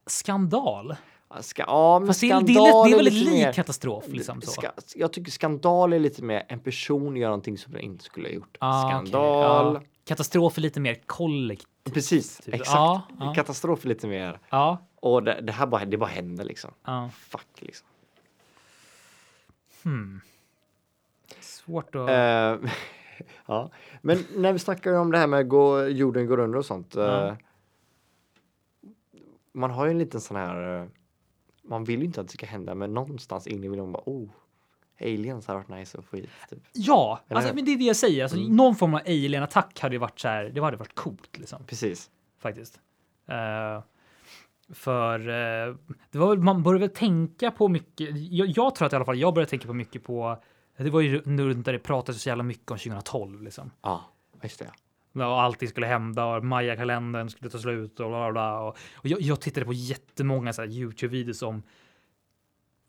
[SPEAKER 1] Skandal.
[SPEAKER 2] Ja, Ska, ja, men
[SPEAKER 1] Fast det är,
[SPEAKER 2] skandal
[SPEAKER 1] det är, det är väldigt
[SPEAKER 2] lite mer-
[SPEAKER 1] lik katastrof liksom så.
[SPEAKER 2] Ska, jag tycker skandal är lite mer en person gör någonting som den inte skulle ha gjort.
[SPEAKER 1] Ah, okej.
[SPEAKER 2] skandal.
[SPEAKER 1] Ja. Katastrof är lite mer kollektiv.
[SPEAKER 2] Precis,
[SPEAKER 1] Typ.
[SPEAKER 2] exakt.
[SPEAKER 1] Ja, ja.
[SPEAKER 2] Katastrof är lite mer.
[SPEAKER 1] Ja,
[SPEAKER 2] Och det, det här bara, det bara händer liksom.
[SPEAKER 1] ja.
[SPEAKER 2] Fuck liksom.
[SPEAKER 1] Svårt att.
[SPEAKER 2] Eh, <laughs> ja. Men när vi snackar om det här med att gå, jorden går under och sånt. eh,
[SPEAKER 1] Ja.
[SPEAKER 2] man har ju en liten sån här. eh, man vill ju inte att det ska hända, men någonstans inne vill man bara oh. Aliens har varit nice att få hit. Typ.
[SPEAKER 1] Ja,
[SPEAKER 2] Eller
[SPEAKER 1] alltså,
[SPEAKER 2] hur? Mm.
[SPEAKER 1] men det är det jag säger. Alltså, Någon form av alien-attack hade ju varit så här. Det hade varit coolt liksom
[SPEAKER 2] Precis.
[SPEAKER 1] faktiskt. Eh, för eh, det var väl, man började väl tänka på mycket. Jag, jag tror att i alla fall jag började tänka på mycket på. Det var ju nu runt där det pratades så jävla mycket om 2012 liksom.
[SPEAKER 2] Ja, just det.
[SPEAKER 1] Ja, Och allting skulle hända och Maya-kalendern skulle ta slut och bla bla. bla. Och, och jag, jag tittade på jättemånga så här Youtube-videos om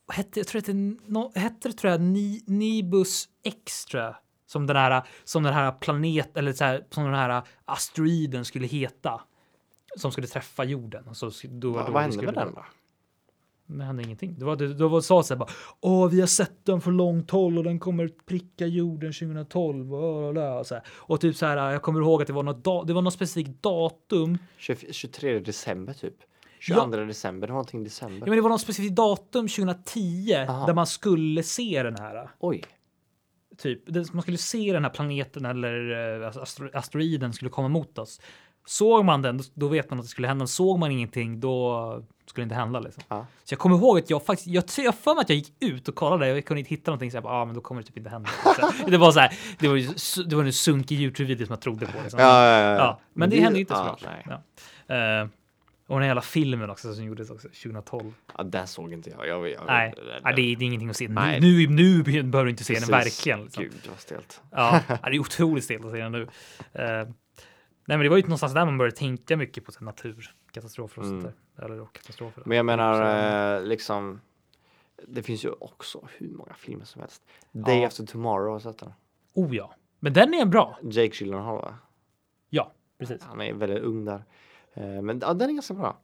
[SPEAKER 1] vad hette, jag tror att det, no, hette det tror jag Ni, Nibus X tror jag. Som den här, som den här planet eller så här, som den här asteroiden skulle heta. Som skulle träffa jorden. Och så, sk- då,
[SPEAKER 2] Vad,
[SPEAKER 1] då
[SPEAKER 2] vad hände
[SPEAKER 1] skulle-
[SPEAKER 2] med den då?
[SPEAKER 1] Det hände ingenting. Det var, det, det var sa så här bara. Åh, vi har sett den från långt håll och den kommer pricka jorden 2012. Och, och, så här. och typ så här. Jag kommer ihåg att det var något, da, det var något specifikt datum
[SPEAKER 2] 20, 23 december typ. 22 december, det var någonting i
[SPEAKER 1] Ja,
[SPEAKER 2] december.
[SPEAKER 1] men det var något specifikt datum 2010
[SPEAKER 2] Aha.
[SPEAKER 1] där man skulle se den här.
[SPEAKER 2] Oj,
[SPEAKER 1] Typ, Det- man skulle se den här planeten eller eh, astro asteroiden skulle komma mot oss. Såg man den, då- då vet man att det skulle hända. Såg man ingenting, då skulle det inte hända. Liksom.
[SPEAKER 2] Ja.
[SPEAKER 1] Så jag kommer ihåg att jag faktiskt, jag tror- jag har för mig att jag gick ut och kollade och jag kunde inte hitta någonting. Så jag bara, ah, men då kommer det typ inte hända. <laughs> Så det var så här, det var ju, su- det var en sunkig Youtube-video som jag trodde på. Liksom.
[SPEAKER 2] Ja, ja, ja, ja.
[SPEAKER 1] Ja, men det,
[SPEAKER 2] Det-
[SPEAKER 1] hände ju inte
[SPEAKER 2] ja,
[SPEAKER 1] såklart.
[SPEAKER 2] nej.
[SPEAKER 1] Ja. Eh, och den här jävla filmen också som gjordes också 2012.
[SPEAKER 2] ja, där såg inte jag. jag, jag
[SPEAKER 1] Nej,
[SPEAKER 2] det-
[SPEAKER 1] Nej, det, är- det är ingenting att se. Nu,
[SPEAKER 2] Nej.
[SPEAKER 1] nu, nu behöver du inte se den
[SPEAKER 2] Precis.
[SPEAKER 1] verkligen. Liksom.
[SPEAKER 2] Gud vad stelt.
[SPEAKER 1] Ja,
[SPEAKER 2] <laughs>
[SPEAKER 1] ja, det är otroligt stelt att se den nu. Eh, nej, men det var ju någonstans där man började tänka mycket på så här naturkatastrofer och sånt där. Eller och katastrofer.
[SPEAKER 2] Mm. Men jag
[SPEAKER 1] Så-
[SPEAKER 2] menar eh, liksom. Det finns ju också hur många filmer som helst. Day
[SPEAKER 1] Ja.
[SPEAKER 2] After Tomorrow har jag sett den.
[SPEAKER 1] Oh ja, men den är bra.
[SPEAKER 2] Jake Gyllenhaal va?
[SPEAKER 1] Ja, precis.
[SPEAKER 2] Han är väldigt ung där. Eh, Men ja, den är ganska bra.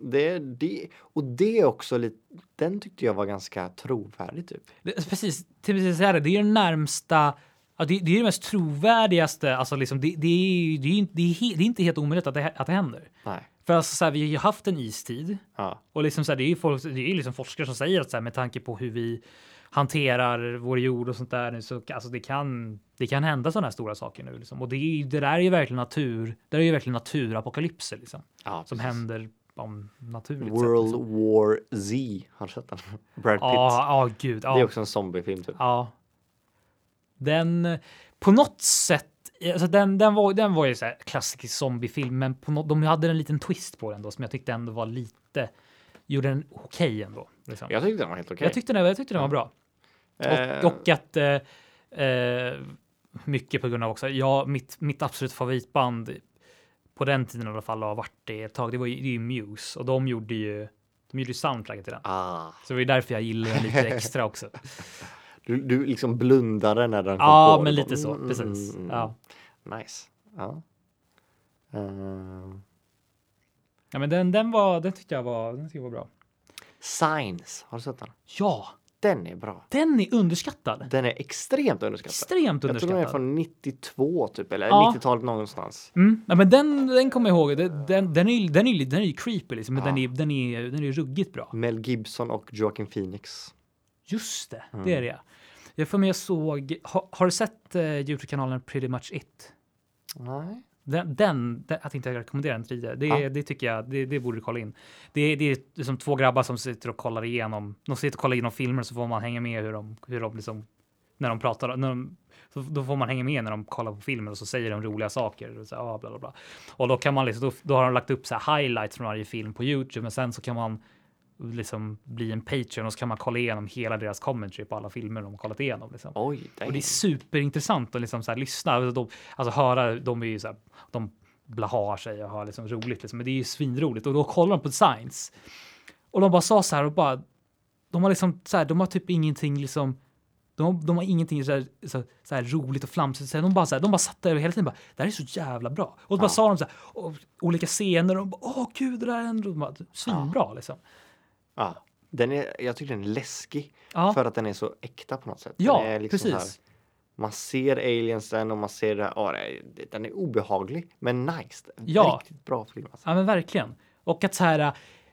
[SPEAKER 2] Det, det, och det är också lite, den tyckte jag var ganska trovärdig typ.
[SPEAKER 1] Det, alltså, precis, till precis så här, det är ju den närmsta. Ja, det, det är det mest trovärdigaste. Alltså, liksom, det, det, är, ju- det, är, ju inte- det, är, he- det är inte helt omöjligt att det, hä- att det händer.
[SPEAKER 2] Nej.
[SPEAKER 1] För alltså, så här, vi har ju haft en istid.
[SPEAKER 2] Ja.
[SPEAKER 1] Och liksom så här, det är ju folk, det är ju liksom forskare som säger att så här, med tanke på hur vi hanterar vår jord och sånt där nu så alltså det kan det kan hända sådana här stora saker nu liksom. Och det, är, ju- det där är ju verkligen natur. Det där är ju verkligen naturapokalypser liksom
[SPEAKER 2] ja
[SPEAKER 1] som
[SPEAKER 2] precis.
[SPEAKER 1] händer om naturligt.
[SPEAKER 2] World
[SPEAKER 1] Sätt, liksom.
[SPEAKER 2] War Z. Har du sett den? <laughs> Brad Pitt.
[SPEAKER 1] Ja, ja, gud.
[SPEAKER 2] Det är
[SPEAKER 1] Ja,
[SPEAKER 2] också en zombiefilm typ.
[SPEAKER 1] ja. Den på något sätt. Alltså den, den, var, den var ju så här klassisk zombiefilm, men på något, de hade en liten twist på den då som jag tyckte ändå var lite gjorde den okej ändå. Liksom.
[SPEAKER 2] Jag tyckte den var helt okej.
[SPEAKER 1] Jag tyckte den, jag tyckte den var bra.
[SPEAKER 2] Eh,
[SPEAKER 1] Och, och att eh, eh, mycket på grund av också, ja, mitt, mitt absolut favoritband på den tiden i alla fall och har varit det ett tag, det var ju, det är ju Muse och de gjorde ju, de gjorde ju soundtracket till den.
[SPEAKER 2] Ah,
[SPEAKER 1] Så det var ju därför jag gillade den
[SPEAKER 2] <laughs>
[SPEAKER 1] lite extra också.
[SPEAKER 2] du, du liksom blundade när den kom
[SPEAKER 1] Ja,
[SPEAKER 2] på.
[SPEAKER 1] men
[SPEAKER 2] Du
[SPEAKER 1] lite
[SPEAKER 2] bara,
[SPEAKER 1] så,
[SPEAKER 2] mm,
[SPEAKER 1] precis.
[SPEAKER 2] mm, mm.
[SPEAKER 1] Ja.
[SPEAKER 2] Nice. Ja. Ehm,
[SPEAKER 1] ja, men den, den var, den tyckte jag var, den tyckte jag var bra.
[SPEAKER 2] Signs, har du sett den?
[SPEAKER 1] Ja,
[SPEAKER 2] Den är bra.
[SPEAKER 1] den är underskattad.
[SPEAKER 2] Den är extremt underskattad.
[SPEAKER 1] Extremt
[SPEAKER 2] Jag tror den är
[SPEAKER 1] underskattad.
[SPEAKER 2] från 92 typ, eller
[SPEAKER 1] Ja.
[SPEAKER 2] 90-talet någonstans.
[SPEAKER 1] Mm. Ja, men den, den kommer jag ihåg. Den, den, den, är, ju- den, är, ju- den är ju creepy liksom, men
[SPEAKER 2] Ja.
[SPEAKER 1] den är den är, den är ju ruggigt bra.
[SPEAKER 2] Mel Gibson och Joaquin Phoenix.
[SPEAKER 1] Just det, det är det. Jag får mig jag såg, har, har du sett eh, Youtube-kanalen Pretty Much It?
[SPEAKER 2] Nej.
[SPEAKER 1] Den, den, den att inte jag rekommenderar den till dig, det,
[SPEAKER 2] Ja.
[SPEAKER 1] det tycker jag, det, det borde du kolla in. Det, det är liksom två grabbar som sitter och kollar igenom, de sitter och kollar igenom filmer så får man hänga med hur de, hur de liksom, när de pratar, när de, så, då får man hänga med när de kollar på filmer och så säger de roliga saker. Och, så, ah, bla, bla, bla. och då kan man liksom, då, då har de lagt upp så här highlights från varje film på Youtube, men sen så kan man liksom bli en Patreon och så kan man kolla igenom hela deras commentary på alla filmer de har kollat igenom. Liksom.
[SPEAKER 2] Oj, dang.
[SPEAKER 1] Och det är superintressant att liksom så här lyssna. Alltså, de, alltså höra, de är ju så här, de blahar sig och har liksom roligt. Liksom. Men det är ju svinroligt. Och då kollar de på Science. Och de bara sa så här och bara, de har liksom så här, de har typ ingenting liksom, de, de har ingenting så här, så, så här roligt och flamsigt. Så här, de, bara så här, de bara satt där och hela tiden bara, det här är så jävla bra. Och då bara
[SPEAKER 2] Ja.
[SPEAKER 1] sa de så här, och, olika scener och de bara, åh gud, det där är ändå de bara, svinbra liksom.
[SPEAKER 2] Ja. Den är, jag tycker den är läskig
[SPEAKER 1] Ja.
[SPEAKER 2] för att den är så äkta på något sätt.
[SPEAKER 1] Ja,
[SPEAKER 2] den är liksom så här-
[SPEAKER 1] precis.
[SPEAKER 2] man ser aliensen och man ser det här. Ja, det är- den är obehaglig, men nice.
[SPEAKER 1] Ja.
[SPEAKER 2] Riktigt bra film. Alltså.
[SPEAKER 1] Ja, men verkligen. Och att så här äh,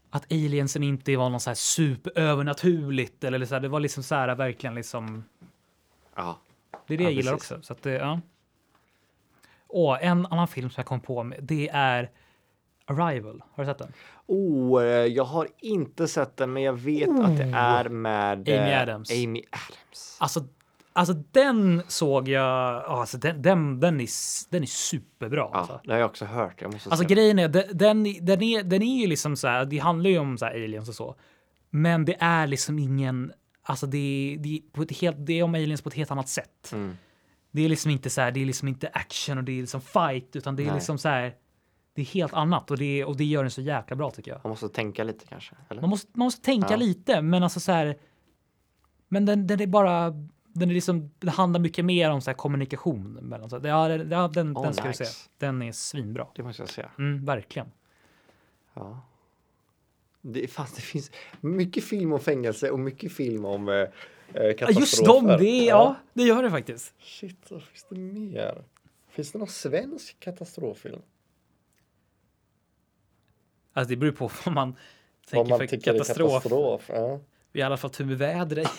[SPEAKER 1] att aliensen inte var någon så här superövernaturligt eller så här, det var liksom så här verkligen liksom.
[SPEAKER 2] Ja.
[SPEAKER 1] Det är det
[SPEAKER 2] Ja,
[SPEAKER 1] jag gillar
[SPEAKER 2] precis.
[SPEAKER 1] också. Så att det, ja. Och en annan film som jag kom på med, det är Arrival. Har du sett den?
[SPEAKER 2] Oh, eh, jag har inte sett den, men jag vet att det är med eh,
[SPEAKER 1] Oh. Amy Adams.
[SPEAKER 2] Amy Adams.
[SPEAKER 1] Alltså, alltså den såg jag. ja, Alltså den, den, den är, s- den är superbra. Alltså.
[SPEAKER 2] Ja, det har jag också hört. Jag måste
[SPEAKER 1] Alltså
[SPEAKER 2] se den.
[SPEAKER 1] grejen är, den, den, den är, den är ju liksom så här, det handlar ju om så här aliens och så. Men det är liksom ingen, alltså det, är- det, är på ett helt, det är om aliens på ett helt annat sätt.
[SPEAKER 2] Mm.
[SPEAKER 1] Det är liksom inte så här, det är liksom inte action och det är liksom fight, utan det är
[SPEAKER 2] Nej.
[SPEAKER 1] liksom så här, det är helt annat och det, och det gör den så jäkla bra tycker jag. Mm.
[SPEAKER 2] Man måste tänka lite kanske. Eller?
[SPEAKER 1] Man måste, man måste tänka
[SPEAKER 2] Ja.
[SPEAKER 1] lite, men alltså så här, Men den, den är bara, den är liksom, det handlar mycket mer om så här kommunikation. Mellan, så att, ja, den, ja, den,
[SPEAKER 2] Oh,
[SPEAKER 1] den ska
[SPEAKER 2] nice.
[SPEAKER 1] du se. Den är svinbra.
[SPEAKER 2] Det måste jag säga.
[SPEAKER 1] Mm, verkligen.
[SPEAKER 2] Ja. Det, fast det finns mycket film om fängelse och mycket film om eh, eh,
[SPEAKER 1] Ja,
[SPEAKER 2] katastrofer.
[SPEAKER 1] just dem, det är, ja, det gör det faktiskt.
[SPEAKER 2] Shit, vad finns det mer? Finns det någon svensk katastroffilm?
[SPEAKER 1] Alltså det beror på vad man
[SPEAKER 2] Vad
[SPEAKER 1] tänker
[SPEAKER 2] man
[SPEAKER 1] för
[SPEAKER 2] tycker
[SPEAKER 1] katastrof.
[SPEAKER 2] är katastrof. Ja.
[SPEAKER 1] I alla fall tur med
[SPEAKER 2] <laughs>
[SPEAKER 1] vädret.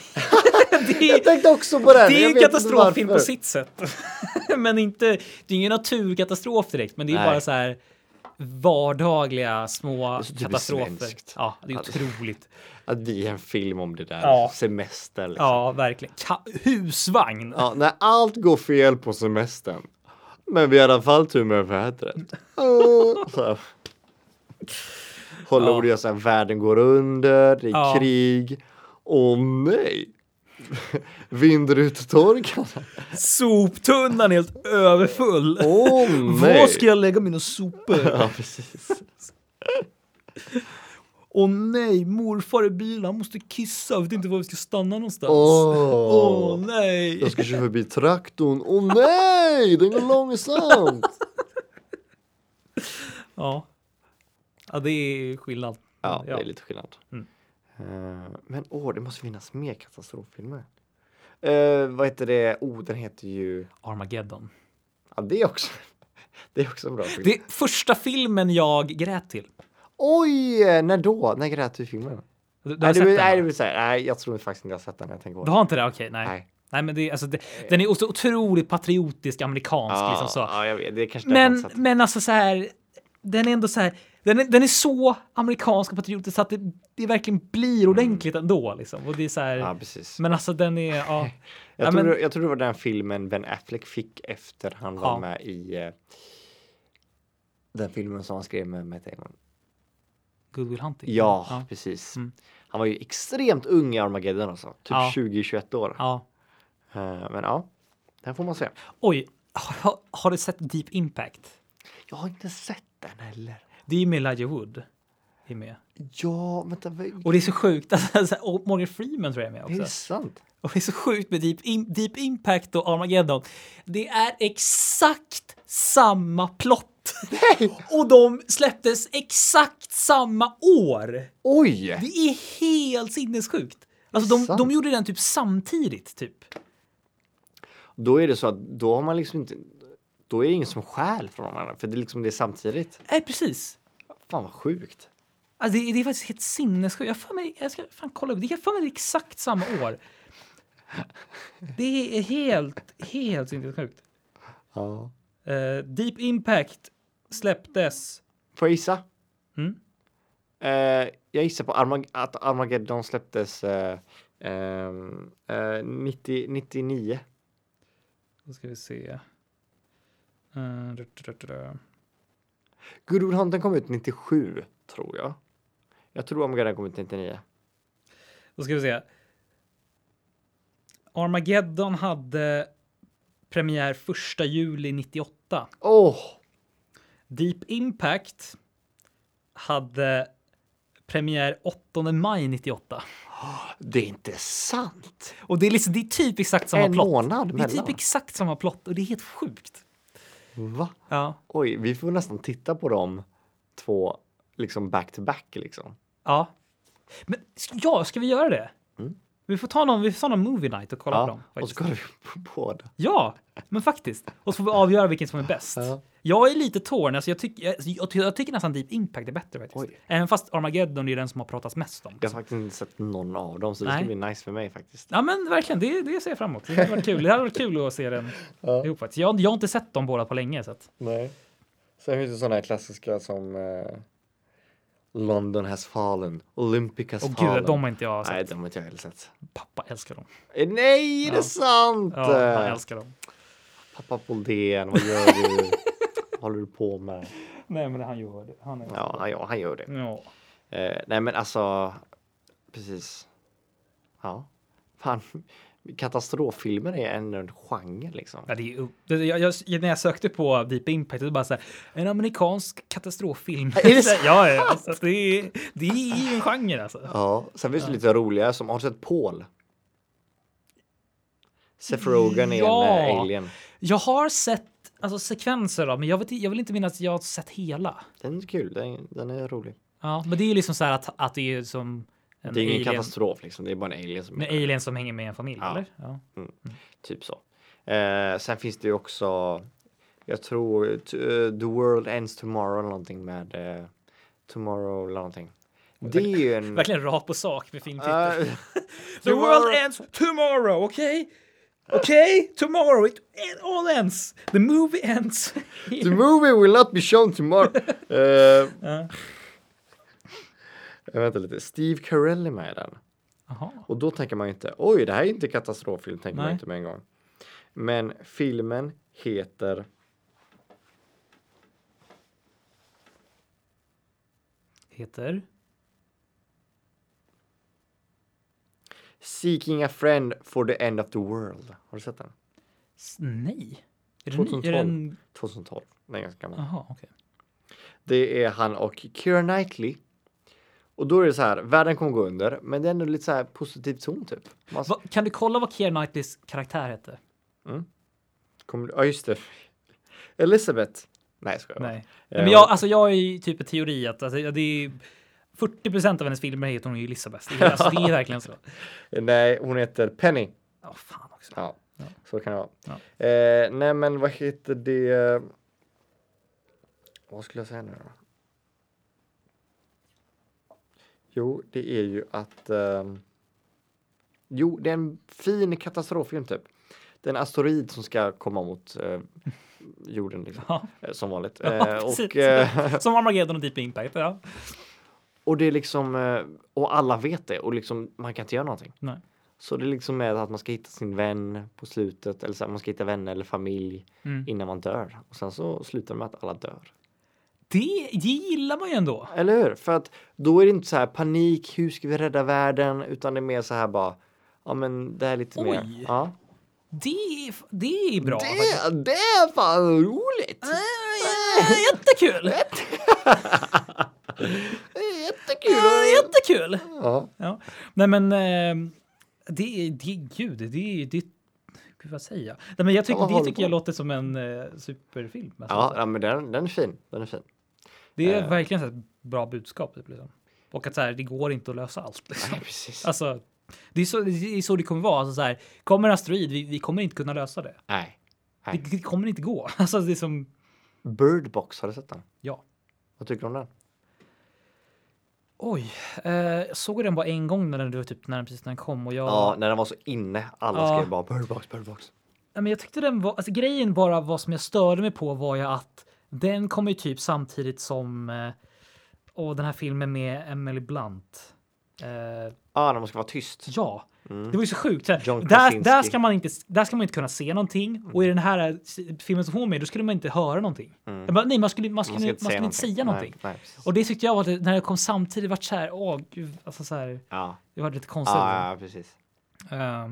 [SPEAKER 1] det är,
[SPEAKER 2] Jag tänkte också på den.
[SPEAKER 1] det är
[SPEAKER 2] jag
[SPEAKER 1] en
[SPEAKER 2] vet inte
[SPEAKER 1] katastroffilm på
[SPEAKER 2] varför.
[SPEAKER 1] sitt sätt. <laughs> men inte, det är ingen naturkatastrof direkt, men det är
[SPEAKER 2] Nej.
[SPEAKER 1] bara så här vardagliga små
[SPEAKER 2] så typiskt
[SPEAKER 1] katastrofer.
[SPEAKER 2] svenskt.
[SPEAKER 1] Ja, det är
[SPEAKER 2] Alltså. <laughs>
[SPEAKER 1] otroligt.
[SPEAKER 2] Att vi är en film om det där.
[SPEAKER 1] Ja.
[SPEAKER 2] Semester. Liksom. Ja.
[SPEAKER 1] Ja, verkligen. Ka- husvagn.
[SPEAKER 2] när allt går fel på semestern. Men vi har i alla fall tur med <laughs> vädret. Åh, så här. Hollywood
[SPEAKER 1] Ja.
[SPEAKER 2] gör så här, världen går under, det är
[SPEAKER 1] Ja.
[SPEAKER 2] krig. Åh nej! <laughs> Vindrutetorkarna.
[SPEAKER 1] Soptunnan är helt överfull.
[SPEAKER 2] Åh nej!
[SPEAKER 1] Var ska jag lägga mina sopor?
[SPEAKER 2] Ja, precis.
[SPEAKER 1] Åh nej, morfar i bilen, han måste kissa. Jag vet inte var vi ska stanna någonstans. Åh
[SPEAKER 2] Åh!
[SPEAKER 1] nej.
[SPEAKER 2] Jag ska köra förbi traktorn. Åh nej! Den går långsamt!
[SPEAKER 1] Ja. ja, det är skillnad.
[SPEAKER 2] <laughs> Ja, det är lite skillnad.
[SPEAKER 1] Mm.
[SPEAKER 2] Eh, men åh, det måste finnas mer katastroffilmer. Eh, vad heter det? Oh, den heter ju...
[SPEAKER 1] Armageddon.
[SPEAKER 2] Ja, det är också... <laughs> Det är också en bra film.
[SPEAKER 1] Det är första filmen jag grät till.
[SPEAKER 2] Oj! När då? När grät du i filmen?
[SPEAKER 1] Du, du, har
[SPEAKER 2] Nej,
[SPEAKER 1] sett
[SPEAKER 2] det,
[SPEAKER 1] den,
[SPEAKER 2] nej, det
[SPEAKER 1] va?
[SPEAKER 2] vill säga, nej, jag tror faktiskt inte jag har sett den när jag tänker på
[SPEAKER 1] du
[SPEAKER 2] det.
[SPEAKER 1] har inte det? Okej, nej. nej.
[SPEAKER 2] Nej.
[SPEAKER 1] men det, är- alltså, det, den är så otroligt patriotisk amerikansk.
[SPEAKER 2] Ja,
[SPEAKER 1] liksom så.
[SPEAKER 2] ja, jag vet. Det är kanske därför jag
[SPEAKER 1] men,
[SPEAKER 2] inte sett Ah, den.
[SPEAKER 1] men alltså så här, den är ändå så här, den är, den är så amerikansk och patriotisk så att det, det verkligen
[SPEAKER 2] Mm.
[SPEAKER 1] blir ordentligt ändå. Liksom. Och det är så här,
[SPEAKER 2] Ja, precis.
[SPEAKER 1] Men alltså den är,
[SPEAKER 2] <laughs>
[SPEAKER 1] ja.
[SPEAKER 2] Jag,
[SPEAKER 1] Ja,
[SPEAKER 2] tror,
[SPEAKER 1] men-
[SPEAKER 2] det- jag tror det var den filmen Ben Affleck fick efter han var
[SPEAKER 1] Ja.
[SPEAKER 2] med i eh, den filmen som han skrev med Matt Damon.
[SPEAKER 1] Goodwill Hunting.
[SPEAKER 2] Ja,
[SPEAKER 1] Mm. ja.
[SPEAKER 2] precis.
[SPEAKER 1] Mm.
[SPEAKER 2] Han var ju extremt ung i Armageddon alltså. Typ
[SPEAKER 1] Ja.
[SPEAKER 2] 20-21 år.
[SPEAKER 1] ja.
[SPEAKER 2] Eh, men ja, den får man se.
[SPEAKER 1] Oj, har, har du sett Deep Impact?
[SPEAKER 2] Jag har inte sett den heller.
[SPEAKER 1] Det är ju med Elijah Wood. Är med.
[SPEAKER 2] Ja, vänta. Vad...
[SPEAKER 1] Och det är så sjukt, alltså, så här, och Morgan Freeman tror jag är med
[SPEAKER 2] Det är
[SPEAKER 1] också.
[SPEAKER 2] sant.
[SPEAKER 1] Och det är så sjukt med Deep, Im- Deep Impact och Armageddon. Det är exakt samma plott. <laughs> Och de släpptes exakt samma år.
[SPEAKER 2] Oj!
[SPEAKER 1] Det är helt sinnessjukt. Alltså de,
[SPEAKER 2] sant.
[SPEAKER 1] de gjorde den typ samtidigt typ.
[SPEAKER 2] Då är det så att då har man liksom inte... Då är det ingen som stjäl från de andra för det är liksom det är samtidigt.
[SPEAKER 1] Nej precis.
[SPEAKER 2] Fan vad sjukt.
[SPEAKER 1] Alltså det, det är faktiskt helt sinnessjukt. Jag, har för mig- jag ska fan kolla upp det. Jag har för mig det är exakt samma år. Det är helt, helt sinnessjukt.
[SPEAKER 2] Ja.
[SPEAKER 1] Eh, Deep Impact släpptes.
[SPEAKER 2] Får jag gissa?
[SPEAKER 1] Mm.
[SPEAKER 2] Eh, jag gissar på Armag- att Armageddon släpptes eh, ehm, eh, 90, 99.
[SPEAKER 1] Då ska vi se. Eh, du- du- du- du.
[SPEAKER 2] Good Will Hunting kom ut 97, tror jag. Jag tror Armageddon kom ut 99.
[SPEAKER 1] Då ska vi se. Armageddon hade premiär 1 juli 98.
[SPEAKER 2] Åh!
[SPEAKER 1] Deep Impact hade premiär 8 maj 98.
[SPEAKER 2] det är inte sant!
[SPEAKER 1] Och det är, liksom, det är typ exakt samma
[SPEAKER 2] en
[SPEAKER 1] plott.
[SPEAKER 2] månad
[SPEAKER 1] det är
[SPEAKER 2] mellan.
[SPEAKER 1] typ exakt samma plott och det är helt sjukt.
[SPEAKER 2] Va?
[SPEAKER 1] Ja,
[SPEAKER 2] Oj, vi får nästan titta på dem två liksom back to back liksom.
[SPEAKER 1] ja. Men sk- ja, ska vi göra det?
[SPEAKER 2] Mm.
[SPEAKER 1] Vi får ta någon, vi får ta någon movie night och kolla på dem.
[SPEAKER 2] och så
[SPEAKER 1] faktiskt.
[SPEAKER 2] kollar vi på båda.
[SPEAKER 1] Ja, men faktiskt. Och så får vi avgöra vilken som är bäst.
[SPEAKER 2] Ja.
[SPEAKER 1] Jag är lite torn, alltså jag, tyck, jag, jag, ty- jag tycker nästan Deep Impact är bättre faktiskt.
[SPEAKER 2] Oj.
[SPEAKER 1] Även fast Armageddon är den som har pratats mest om.
[SPEAKER 2] Jag har faktiskt inte sett någon av dem så det
[SPEAKER 1] Nej.
[SPEAKER 2] ska bli nice för mig faktiskt.
[SPEAKER 1] Ja men verkligen, det, det ser jag fram emot. Det hade varit kul, det hade varit kul att se den
[SPEAKER 2] <laughs> Ja.
[SPEAKER 1] ihop faktiskt. Jag, jag har inte sett dem båda på länge. Så att,
[SPEAKER 2] Nej. Sen finns det sådana här klassiska som eh, London has fallen, Olympic has
[SPEAKER 1] och
[SPEAKER 2] fallen.
[SPEAKER 1] gud, de har inte jag sett.
[SPEAKER 2] Nej, de har inte jag heller sett.
[SPEAKER 1] Pappa älskar dem.
[SPEAKER 2] Eh, Nej, det är
[SPEAKER 1] Ja.
[SPEAKER 2] sant!
[SPEAKER 1] Ja, han älskar dem.
[SPEAKER 2] Pappa Boldén, vad gör du? Vad håller du på med?
[SPEAKER 1] Nej men han gör det. Han är...
[SPEAKER 2] Ja, han, ja, han gör det.
[SPEAKER 1] Ja.
[SPEAKER 2] Eh, nej, men alltså, precis. Ja, fan. Katastroffilmer är en, en genre liksom.
[SPEAKER 1] Ja, det är, det- jag, jag, när jag sökte på Deep Impact, det var bara så här, en amerikansk katastroffilm. <laughs>
[SPEAKER 2] Är det så?
[SPEAKER 1] ja, ja, alltså, det, är, det är ju en genre alltså.
[SPEAKER 2] Ja, sen finns det lite roliga som, har du sett Paul? Seth Rogen är en
[SPEAKER 1] Ja.
[SPEAKER 2] eh, alien.
[SPEAKER 1] Jag har sett alltså, sekvenser av, men jag, vet, jag vill inte minnas att jag har sett hela.
[SPEAKER 2] Den är kul, den, den är rolig.
[SPEAKER 1] Ja, men det är ju liksom så här att, att det är som en
[SPEAKER 2] Det är ingen
[SPEAKER 1] alien,
[SPEAKER 2] katastrof liksom, det är bara en alien som
[SPEAKER 1] en alien som hänger med en familj,
[SPEAKER 2] Ja.
[SPEAKER 1] eller? Ja. Mm.
[SPEAKER 2] typ så. Eh, sen finns det ju också, jag tror t- eh, The World Ends Tomorrow eller någonting med eh, Tomorrow eller någonting. Det är ju en...
[SPEAKER 1] Verkligen rakt på sak med filmtitel.
[SPEAKER 2] Eh,
[SPEAKER 1] The world ends tomorrow, okej? Okej? Tomorrow, it it all ends. The movie <laughs> ends.
[SPEAKER 2] <laughs> The movie will not be
[SPEAKER 1] <laughs>
[SPEAKER 2] shown tomorrow. Eh,
[SPEAKER 1] Ja.
[SPEAKER 2] <laughs> vänta lite, Steve Carell är med i den.
[SPEAKER 1] Jaha.
[SPEAKER 2] Och då tänker man ju inte, oj det här är inte katastroffilm, tänker man
[SPEAKER 1] Nej.
[SPEAKER 2] inte med en gång. Men filmen heter
[SPEAKER 1] Heter?
[SPEAKER 2] Seeking a friend for the end of the world. Har du sett den?
[SPEAKER 1] S- Nej. Är det, ny-
[SPEAKER 2] 2012.
[SPEAKER 1] är det en...
[SPEAKER 2] 2012. Den är ganska gammal.
[SPEAKER 1] Jaha, okej.
[SPEAKER 2] Det är han och Keira Knightley. Och då är det så här, världen kommer gå under, men det är ändå lite så här positiv ton typ. Man
[SPEAKER 1] Va- Kan du kolla vad Keira Knightleys karaktär hette?
[SPEAKER 2] kommer, ja just det. Elizabeth. Nej, ska jag
[SPEAKER 1] Nej. Nej, men
[SPEAKER 2] Eh,
[SPEAKER 1] jag, alltså jag har ju typ en teori att alltså, det är 40 av hennes filmer heter hon ju Elisabeth. Det är, alltså, det är verkligen så.
[SPEAKER 2] Nej, hon heter Penny.
[SPEAKER 1] Ja, fan också.
[SPEAKER 2] Ja, så kan det vara.
[SPEAKER 1] Ja.
[SPEAKER 2] Eh, nej, men vad heter det? Vad skulle jag säga nu då? Jo, det är ju att... ehm, jo, det är en fin katastroffilm typ. Det är en asteroid som ska komma mot eh, jorden liksom,
[SPEAKER 1] Ja.
[SPEAKER 2] eh, som vanligt.
[SPEAKER 1] Ja,
[SPEAKER 2] Eh,
[SPEAKER 1] precis.
[SPEAKER 2] och,
[SPEAKER 1] <laughs>
[SPEAKER 2] eh,
[SPEAKER 1] Som Armageddon och Deep Impact. Ja.
[SPEAKER 2] och det är liksom... eh, Och alla vet det och liksom, man kan inte göra någonting.
[SPEAKER 1] Nej.
[SPEAKER 2] Så det är liksom med att man ska hitta sin vän på slutet eller så här, man ska hitta vänner eller familj
[SPEAKER 1] Mm.
[SPEAKER 2] innan man dör. Och sen så slutar det med att alla dör.
[SPEAKER 1] Det, det gillar man ju ändå.
[SPEAKER 2] Eller hur? För att då är det inte så här panik, hur ska vi rädda världen? Utan det är mer så här bara, ja men det här är lite mer.
[SPEAKER 1] Oj.
[SPEAKER 2] Ja.
[SPEAKER 1] Det, är- det är bra. faktiskt.
[SPEAKER 2] Det, det är fan roligt!
[SPEAKER 1] Äh, Jättekul!
[SPEAKER 2] Det är jättekul!
[SPEAKER 1] Ah, Jättekul!
[SPEAKER 2] Ja.
[SPEAKER 1] Ja. Nej men, eh, det är, det, gud, det är, det gud vad säger jag? Nej men jag
[SPEAKER 2] Ja,
[SPEAKER 1] tycker,
[SPEAKER 2] vad håller
[SPEAKER 1] det tycker
[SPEAKER 2] du på
[SPEAKER 1] jag
[SPEAKER 2] med?
[SPEAKER 1] låter som en eh, superfilm. Alltså.
[SPEAKER 2] Ja, ja, men den, den är fin. Den är fin.
[SPEAKER 1] Det är
[SPEAKER 2] eh.
[SPEAKER 1] verkligen så här ett bra budskap. Typ, liksom. Och att så här, det går inte att lösa allt. <laughs> Liksom.
[SPEAKER 2] <laughs> Nej, precis.
[SPEAKER 1] Alltså, det, är så, det är så det kommer vara. Alltså, så här, kommer en asteroid, vi, vi kommer inte kunna lösa det.
[SPEAKER 2] Nej.
[SPEAKER 1] Det,
[SPEAKER 2] Nej.
[SPEAKER 1] det kommer inte gå. <laughs> Alltså, det är som,
[SPEAKER 2] Bird Box, har du sett den?
[SPEAKER 1] ja.
[SPEAKER 2] Vad tycker du om den?
[SPEAKER 1] Oj, eh, jag såg den bara en gång när den, det var typ, när den precis när den kom och jag,
[SPEAKER 2] Ja, när den var så inne. Alla
[SPEAKER 1] Ja.
[SPEAKER 2] skrev bara Bird Box, Bird Box.
[SPEAKER 1] Ja, men jag tyckte den var, alltså grejen bara vad som jag störde mig på var ju att den kom ju typ samtidigt som eh, och den här filmen med Emily Blunt. Eh,
[SPEAKER 2] Ja, när man ska vara tyst.
[SPEAKER 1] ja, det var ju så sjukt. Så här,
[SPEAKER 2] John
[SPEAKER 1] där,
[SPEAKER 2] Krasinski.
[SPEAKER 1] där, ska man inte, där ska man inte kunna se någonting och i den här eh, filmen som hon var med då skulle man inte höra någonting. Jag bara, nej, man skulle, man skulle, man skulle inte säga någonting.
[SPEAKER 2] Nej, nej, precis.
[SPEAKER 1] Och det tyckte jag var att när det kom samtidigt vart så här, åh gud, alltså så här,
[SPEAKER 2] ja.
[SPEAKER 1] det var lite konstigt.
[SPEAKER 2] Ah, Ja, ja, precis.
[SPEAKER 1] Eh,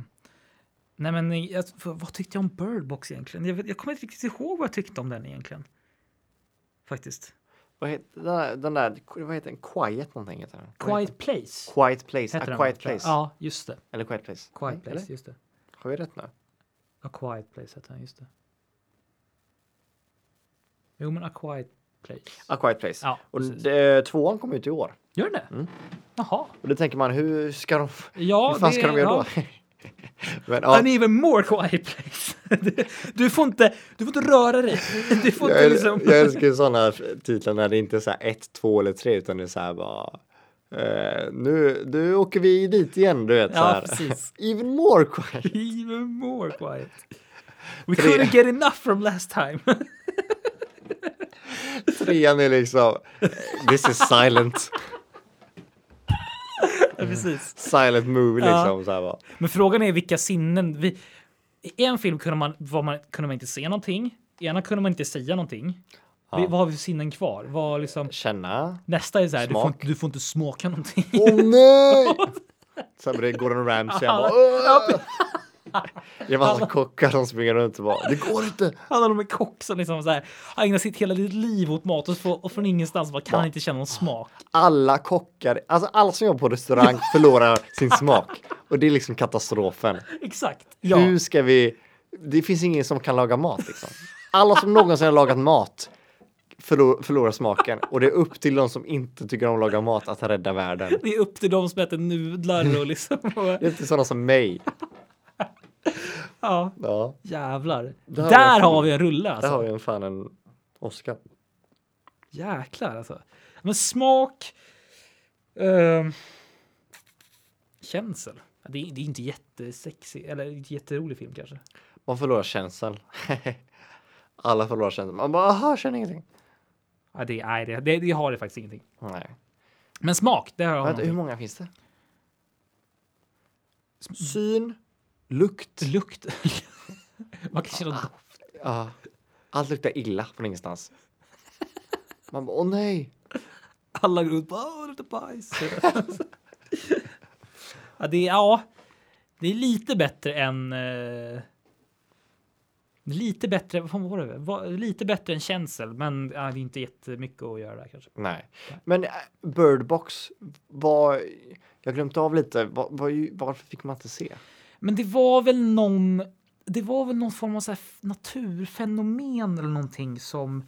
[SPEAKER 1] nej men eh, jag, vad vad tyckte jag om Bird Box egentligen? Jag, vet- jag kommer inte riktigt ihåg vad jag tyckte om den egentligen. Faktiskt.
[SPEAKER 2] Vad heter den där, den där vad heter den? Quiet någonting heter den. Vad heter
[SPEAKER 1] Quiet Place.
[SPEAKER 2] den? Quiet
[SPEAKER 1] heter
[SPEAKER 2] Place. A
[SPEAKER 1] den,
[SPEAKER 2] Ah, quiet
[SPEAKER 1] tror jag.
[SPEAKER 2] Place.
[SPEAKER 1] Ja, just det.
[SPEAKER 2] Eller Quiet Place.
[SPEAKER 1] Quiet
[SPEAKER 2] Eller?
[SPEAKER 1] Place, just det.
[SPEAKER 2] Har vi rätt nu?
[SPEAKER 1] A Quiet Place heter den, just det. Jo men A Quiet Place.
[SPEAKER 2] A Quiet Place.
[SPEAKER 1] Ja,
[SPEAKER 2] och
[SPEAKER 1] precis.
[SPEAKER 2] det, tvåan kom ut i år.
[SPEAKER 1] Ah, Gör den det? Jaha.
[SPEAKER 2] Och då tänker man, hur ska de,
[SPEAKER 1] Ja,
[SPEAKER 2] Mm. hur fan ska
[SPEAKER 1] det-
[SPEAKER 2] de göra
[SPEAKER 1] ja.
[SPEAKER 2] då? <laughs> Men ja,
[SPEAKER 1] An even more quiet place. <laughs> Du, du, får inte, du får inte röra dig. <laughs> Du får
[SPEAKER 2] jag,
[SPEAKER 1] inte
[SPEAKER 2] äl-
[SPEAKER 1] liksom...
[SPEAKER 2] jag älskar ju sådana titlar när det inte är så här ett, två eller tre utan det är så här bara eh, nu, nu åker vi dit igen, du vet.
[SPEAKER 1] <laughs>
[SPEAKER 2] så
[SPEAKER 1] Ja,
[SPEAKER 2] här.
[SPEAKER 1] precis.
[SPEAKER 2] Even more quiet.
[SPEAKER 1] Even more quiet. We
[SPEAKER 2] Tre.
[SPEAKER 1] couldn't get enough from last time. <laughs>
[SPEAKER 2] Trean är liksom, this is silent,
[SPEAKER 1] Ja, precis.
[SPEAKER 2] silent movie
[SPEAKER 1] Ja.
[SPEAKER 2] liksom. Så här bara.
[SPEAKER 1] Men frågan är vilka sinnen. Vi, I en film kunde man, var man, kunde man inte se någonting. I ena kunde man inte säga någonting. Vi, vad har vi för sinnen kvar? Vad liksom,
[SPEAKER 2] Känna.
[SPEAKER 1] nästa är så här, du får,
[SPEAKER 2] Smak.
[SPEAKER 1] inte, du får inte smaka någonting. <laughs>
[SPEAKER 2] Åh nej! Sen blir det Gordon Ramsay, han bara "Åh!" Det var alltså kockar som springer runt och bara, det går inte.
[SPEAKER 1] Han har en kock som liksom så här, han ägnar sitt hela liv- liv åt mat och, så får, och från ingenstans bara kan inte känna någon smak.
[SPEAKER 2] Alla kockar, alltså alla som jobbar på restaurang förlorar sin smak. Och det är liksom katastrofen.
[SPEAKER 1] Exakt. Ja.
[SPEAKER 2] Hur ska vi? Det finns ingen som kan laga mat liksom. Alla som någonsin har lagat mat förlor, förlorar smaken. Och det är upp till de som inte tycker om att laga mat att rädda världen.
[SPEAKER 1] Det är upp till dem som äter nudlar och liksom. Och,
[SPEAKER 2] <laughs> Det är inte sådana som mig.
[SPEAKER 1] ja,
[SPEAKER 2] Ja,
[SPEAKER 1] jävlar.
[SPEAKER 2] Där
[SPEAKER 1] Där,
[SPEAKER 2] har vi-
[SPEAKER 1] har vi en rulle
[SPEAKER 2] där
[SPEAKER 1] alltså.
[SPEAKER 2] har vi en fan en Oscar.
[SPEAKER 1] Jäklar alltså. Men smak. ehm, känsel. Ja, Det är, det är inte jättesexig eller inte jätterolig film kanske.
[SPEAKER 2] Man förlorar känslan. <laughs> Alla förlorar känslan. Man bara, aha, känner ingenting.
[SPEAKER 1] Ja, det, nej, det, det, det har det faktiskt ingenting.
[SPEAKER 2] Nej.
[SPEAKER 1] Men smak, det har jag.
[SPEAKER 2] Vänta, hur
[SPEAKER 1] någonting.
[SPEAKER 2] många finns det? Syn, lukt.
[SPEAKER 1] Lukt. <laughs> Man kan känna
[SPEAKER 2] Ja. Allt luktar illa från ingenstans. Man bara, åh nej.
[SPEAKER 1] alla går ut bara "Åh, det luktar <laughs> bajs. ja, det, är- ja, det är lite bättre än. eh, lite bättre. Vad fan var det? Va- Lite bättre än känsel, men ja, det är inte jättemycket att göra där kanske.
[SPEAKER 2] Nej. Men äh, Bird Box var... Jag glömde av lite. Var, var, ju- varför fick man inte se?
[SPEAKER 1] Men det var väl någon. Det var väl någon form av så här f- naturfenomen eller någonting som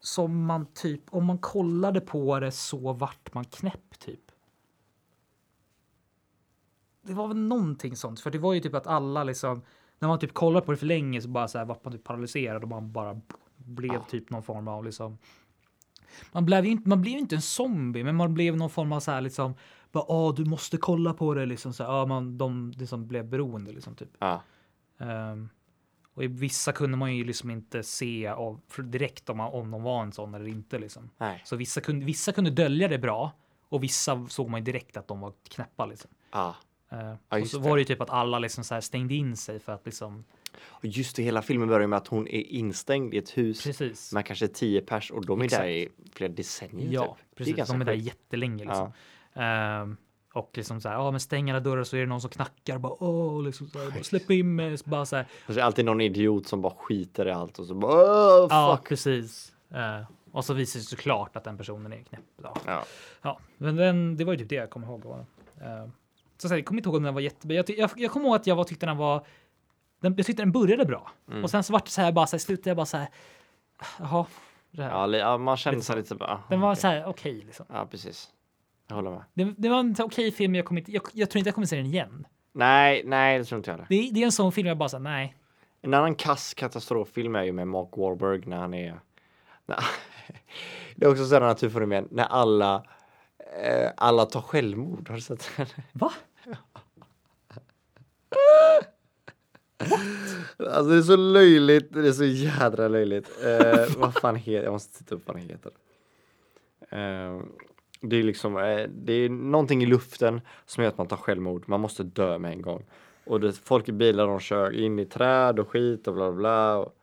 [SPEAKER 1] som man typ om man kollade på det så vart man knäpp typ. Det var väl någonting sånt, för det var ju typ att alla liksom när man typ kollade på det för länge så bara så här vart man typ paralyserad och man bara blev typ någon form av liksom. Man blev ju inte. Man blev ju inte en zombie, men man blev någon form av så här liksom bara ah, du måste kolla på det liksom så här. Ja, man de liksom blev beroende liksom typ.
[SPEAKER 2] Ja.
[SPEAKER 1] Ehm, och i vissa kunde man ju liksom inte se av, för direkt om, man, om de var en sån eller inte. Liksom.
[SPEAKER 2] Nej.
[SPEAKER 1] Så vissa kunde, vissa kunde dölja det bra och vissa såg man ju direkt att de var knäppa. Liksom.
[SPEAKER 2] Ja.
[SPEAKER 1] Ehm,
[SPEAKER 2] Ja,
[SPEAKER 1] och
[SPEAKER 2] just
[SPEAKER 1] så
[SPEAKER 2] det.
[SPEAKER 1] var det ju typ att alla liksom så här stängde in sig för att liksom.
[SPEAKER 2] Och just det, hela filmen börjar med att hon är instängd i ett hus.
[SPEAKER 1] Precis.
[SPEAKER 2] Man kanske är tio pers och de är
[SPEAKER 1] Exakt.
[SPEAKER 2] där i flera decennier.
[SPEAKER 1] ja,
[SPEAKER 2] typ. Det är
[SPEAKER 1] precis.
[SPEAKER 2] ganska
[SPEAKER 1] De är där
[SPEAKER 2] sjukt.
[SPEAKER 1] jättelänge liksom. Ehm, och liksom så här, ja, men stäng alla dörrar så är det någon som knackar. Bara, Åh, liksom så här, bara, släpp in mig. Så Bara så här,
[SPEAKER 2] Och så är det Alltså, alltid någon idiot som bara skiter i allt och så bara "Åh,
[SPEAKER 1] ja,
[SPEAKER 2] fuck.
[SPEAKER 1] precis. Ehm, och så visar det sig såklart att den personen är knäpp. Ja.
[SPEAKER 2] Ja.
[SPEAKER 1] Ja, men den, det var ju typ det jag kommer ihåg. Var. Uh, så jag kommer inte ihåg om den var jättebra. Jag, ty- jag, jag kommer ihåg att jag var, tyckte den var. Den, jag tyckte den började bra
[SPEAKER 2] Mm.
[SPEAKER 1] och sen så vart det så här bara så här, i slutet jag bara så här. Jaha. Det här.
[SPEAKER 2] Ja, li- ja, man känner sig lite bara.
[SPEAKER 1] den var
[SPEAKER 2] okej.
[SPEAKER 1] så här okej liksom.
[SPEAKER 2] Ja, precis. Jag håller med.
[SPEAKER 1] Det, det var en så här okej film. Jag, kommer inte, jag, jag tror inte jag kommer se den igen.
[SPEAKER 2] Nej, nej, det tror inte jag heller.
[SPEAKER 1] Det, är- det är en sån film jag bara så här, nej.
[SPEAKER 2] En annan kass katastroffilm är ju med Mark Wahlberg när han är... när- <laughs> Det är också sådana naturfenomen när alla, eh, alla tar självmord. Har du sett den?
[SPEAKER 1] Va?
[SPEAKER 2] Alltså det är så löjligt, det är så jädra löjligt. <laughs> Eh, vad fan heter, jag måste titta upp vad den heter. Eh, det är liksom, eh, det är någonting i luften som gör att man tar självmord, man måste dö med en gång. Och det, folk i bilar de kör in i träd och skit och bla bla bla. Och,